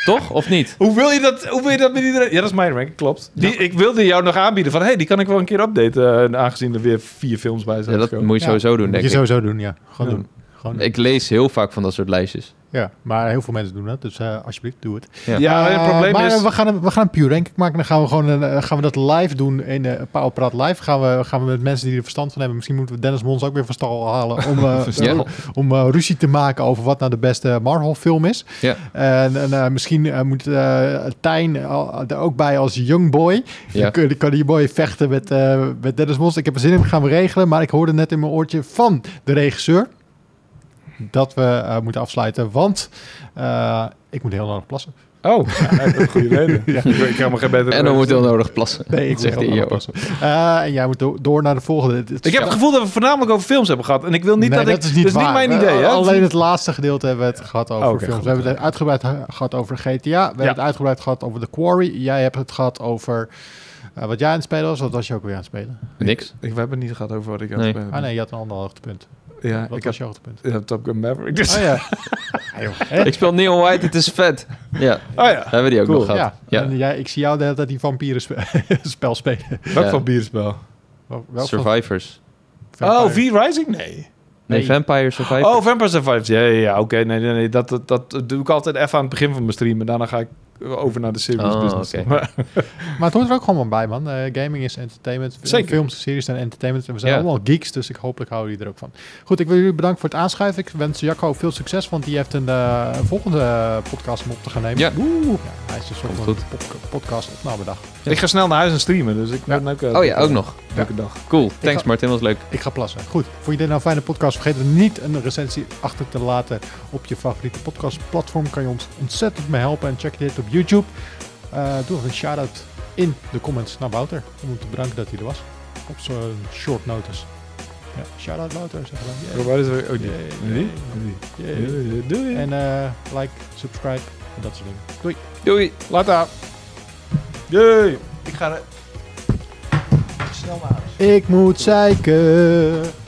Speaker 1: Toch? Of niet?
Speaker 3: Hoe wil, je dat, hoe wil je dat met iedereen... Ja, dat is mijn ranking, klopt. Die, Ik wilde jou nog aanbieden van... hey, die kan ik wel een keer updaten... eh, aangezien er weer vier films bij zijn
Speaker 1: Ja, dat
Speaker 3: gekomen.
Speaker 1: moet je
Speaker 2: Ja,
Speaker 1: sowieso doen,
Speaker 2: Moet
Speaker 1: denk
Speaker 2: je
Speaker 1: ik.
Speaker 2: sowieso doen, ja. Gewoon
Speaker 3: Ja.
Speaker 2: doen. Gewoon doen.
Speaker 1: Ik lees heel vaak van dat soort lijstjes.
Speaker 2: Ja, maar heel veel mensen doen dat. Dus eh, alsjeblieft, doe het.
Speaker 1: Ja.
Speaker 3: Ja, alleen
Speaker 2: Eh,
Speaker 3: het probleem
Speaker 2: maar
Speaker 3: is...
Speaker 2: we gaan, een- we gaan een pure ranking maken. Dan gaan we, gewoon een, eh, gaan we dat live doen in eh Power Praat Live. Gaan we, gaan we met mensen die er verstand van hebben. Misschien moeten we Dennis Mons ook weer van stal halen. Om, eh,
Speaker 1: Ja.
Speaker 2: om eh, ruzie te maken over wat nou de beste Marvel film is.
Speaker 1: Ja.
Speaker 2: En, en, eh, misschien eh, moet eh, Tijn al- er ook bij als young boy.
Speaker 1: Ja.
Speaker 2: Dan kun- dan kan die boy vechten met, eh, met Dennis Mons. Ik heb er zin in, gaan we regelen. Maar ik hoorde net in mijn oortje van de regisseur dat we eh, moeten afsluiten. Want eh, ik moet heel lang plassen.
Speaker 3: Oh, (laughs) ja, dat is een goede
Speaker 1: (laughs)
Speaker 3: reden. Ik weet- Ik kan maar geen betere
Speaker 1: En dan
Speaker 3: reden
Speaker 1: moet
Speaker 3: verzinnen.
Speaker 1: onnodig plassen.
Speaker 2: Nee, ik
Speaker 1: Dat zegt
Speaker 2: wil
Speaker 1: de E
Speaker 2: wel
Speaker 1: IO.
Speaker 2: aanpassen. Eh, en jij moet do- door naar de volgende. Het- het-
Speaker 3: Ik heb het gevoel dat we voornamelijk over films hebben gehad. En ik wil niet
Speaker 2: Nee,
Speaker 3: dat, ik...
Speaker 2: is niet,
Speaker 3: dat is
Speaker 2: waar.
Speaker 3: niet mijn
Speaker 2: We-
Speaker 3: idee. Hè? Oh,
Speaker 2: Alleen het laatste gedeelte hebben we het gehad over
Speaker 3: Oké,
Speaker 2: films.
Speaker 3: goed.
Speaker 2: We hebben het uitgebreid ha- gehad over GTA. We hebben het uitgebreid gehad over The Quarry. Jij hebt het gehad over eh, wat jij aan het spelen was. Wat was je ook weer aan het spelen?
Speaker 1: Niks.
Speaker 3: Ik, we hebben het niet gehad over wat ik aan
Speaker 1: Nee.
Speaker 3: het spelen
Speaker 2: Ah
Speaker 3: ben.
Speaker 2: nee, je had een ander hoogtepunt.
Speaker 3: Ja,
Speaker 2: Wat was
Speaker 3: ik heb
Speaker 2: je hoogtepunt?
Speaker 3: ja, Top Gun Maverick. Dus.
Speaker 2: Oh
Speaker 3: (laughs)
Speaker 2: ja. Ja, joh. Hè?
Speaker 1: Ik speel Neon White, het is vet. Ja,
Speaker 3: Oh ja.
Speaker 1: hebben die ook
Speaker 3: Cool.
Speaker 1: nog gehad.
Speaker 2: Ja.
Speaker 1: Ja.
Speaker 2: En jij, ik zie jou de hele tijd die vampieren spe- (laughs) spel spelen.
Speaker 3: Welk
Speaker 1: Ja.
Speaker 3: van bierspel?
Speaker 2: Wel- wel van
Speaker 1: Survivors.
Speaker 2: vampire.
Speaker 3: Oh, V-Rising? Nee.
Speaker 1: Nee,
Speaker 2: Nee.
Speaker 1: Vampire Survivors.
Speaker 3: Oh, Vampire Survivors. Ja, ja, ja. Oké, nee, nee, nee. Dat, dat, dat doe ik altijd even aan het begin van mijn stream. En daarna ga ik over naar de serious
Speaker 1: Oh,
Speaker 3: business.
Speaker 1: oké.
Speaker 3: Maar-
Speaker 2: Maar het hoort er ook gewoon bij, man. Eh, gaming is entertainment. Eh,
Speaker 3: Zeker.
Speaker 2: Films, series en entertainment. En we zijn
Speaker 1: Ja.
Speaker 2: allemaal geeks, dus ik hopelijk houden jullie er ook van. Goed, ik wil jullie bedanken voor het aanschuiven. Ik wens Jacco veel succes, want die heeft een eh, volgende eh, podcast om op te gaan nemen.
Speaker 1: Ja.
Speaker 2: Oeh. Ja, hij is een soort
Speaker 1: Komt
Speaker 2: van
Speaker 1: goed.
Speaker 2: pod- podcast opnamedag.
Speaker 1: Ja.
Speaker 3: Ik ga snel naar huis en streamen. Dus ik
Speaker 2: Ja.
Speaker 3: ben ook...
Speaker 1: Oh ja, ook nog.
Speaker 3: Leuke dag.
Speaker 1: Cool. Thanks
Speaker 2: ga-
Speaker 1: Martin, was leuk.
Speaker 2: Ik ga plassen. Goed, vond je dit nou een fijne podcast? Vergeet er niet een recensie achter te laten op je favoriete podcastplatform. Kan je ons ontzettend mee helpen. En check dit op YouTube. Eh, doe nog een shout-out in de comments naar Wouter. Om hem te bedanken dat hij er was. Op zo'n short notice. Ja, shout-out Wouter. Zeg maar. Yay.
Speaker 3: Waar is er oh, ook niet?
Speaker 2: Yay.
Speaker 3: Nee?
Speaker 2: Yay.
Speaker 3: Nee. Doei.
Speaker 2: En eh, like, subscribe en dat soort dingen. Doei.
Speaker 1: Doei.
Speaker 3: Later. Doei.
Speaker 2: Ik moet zeiken.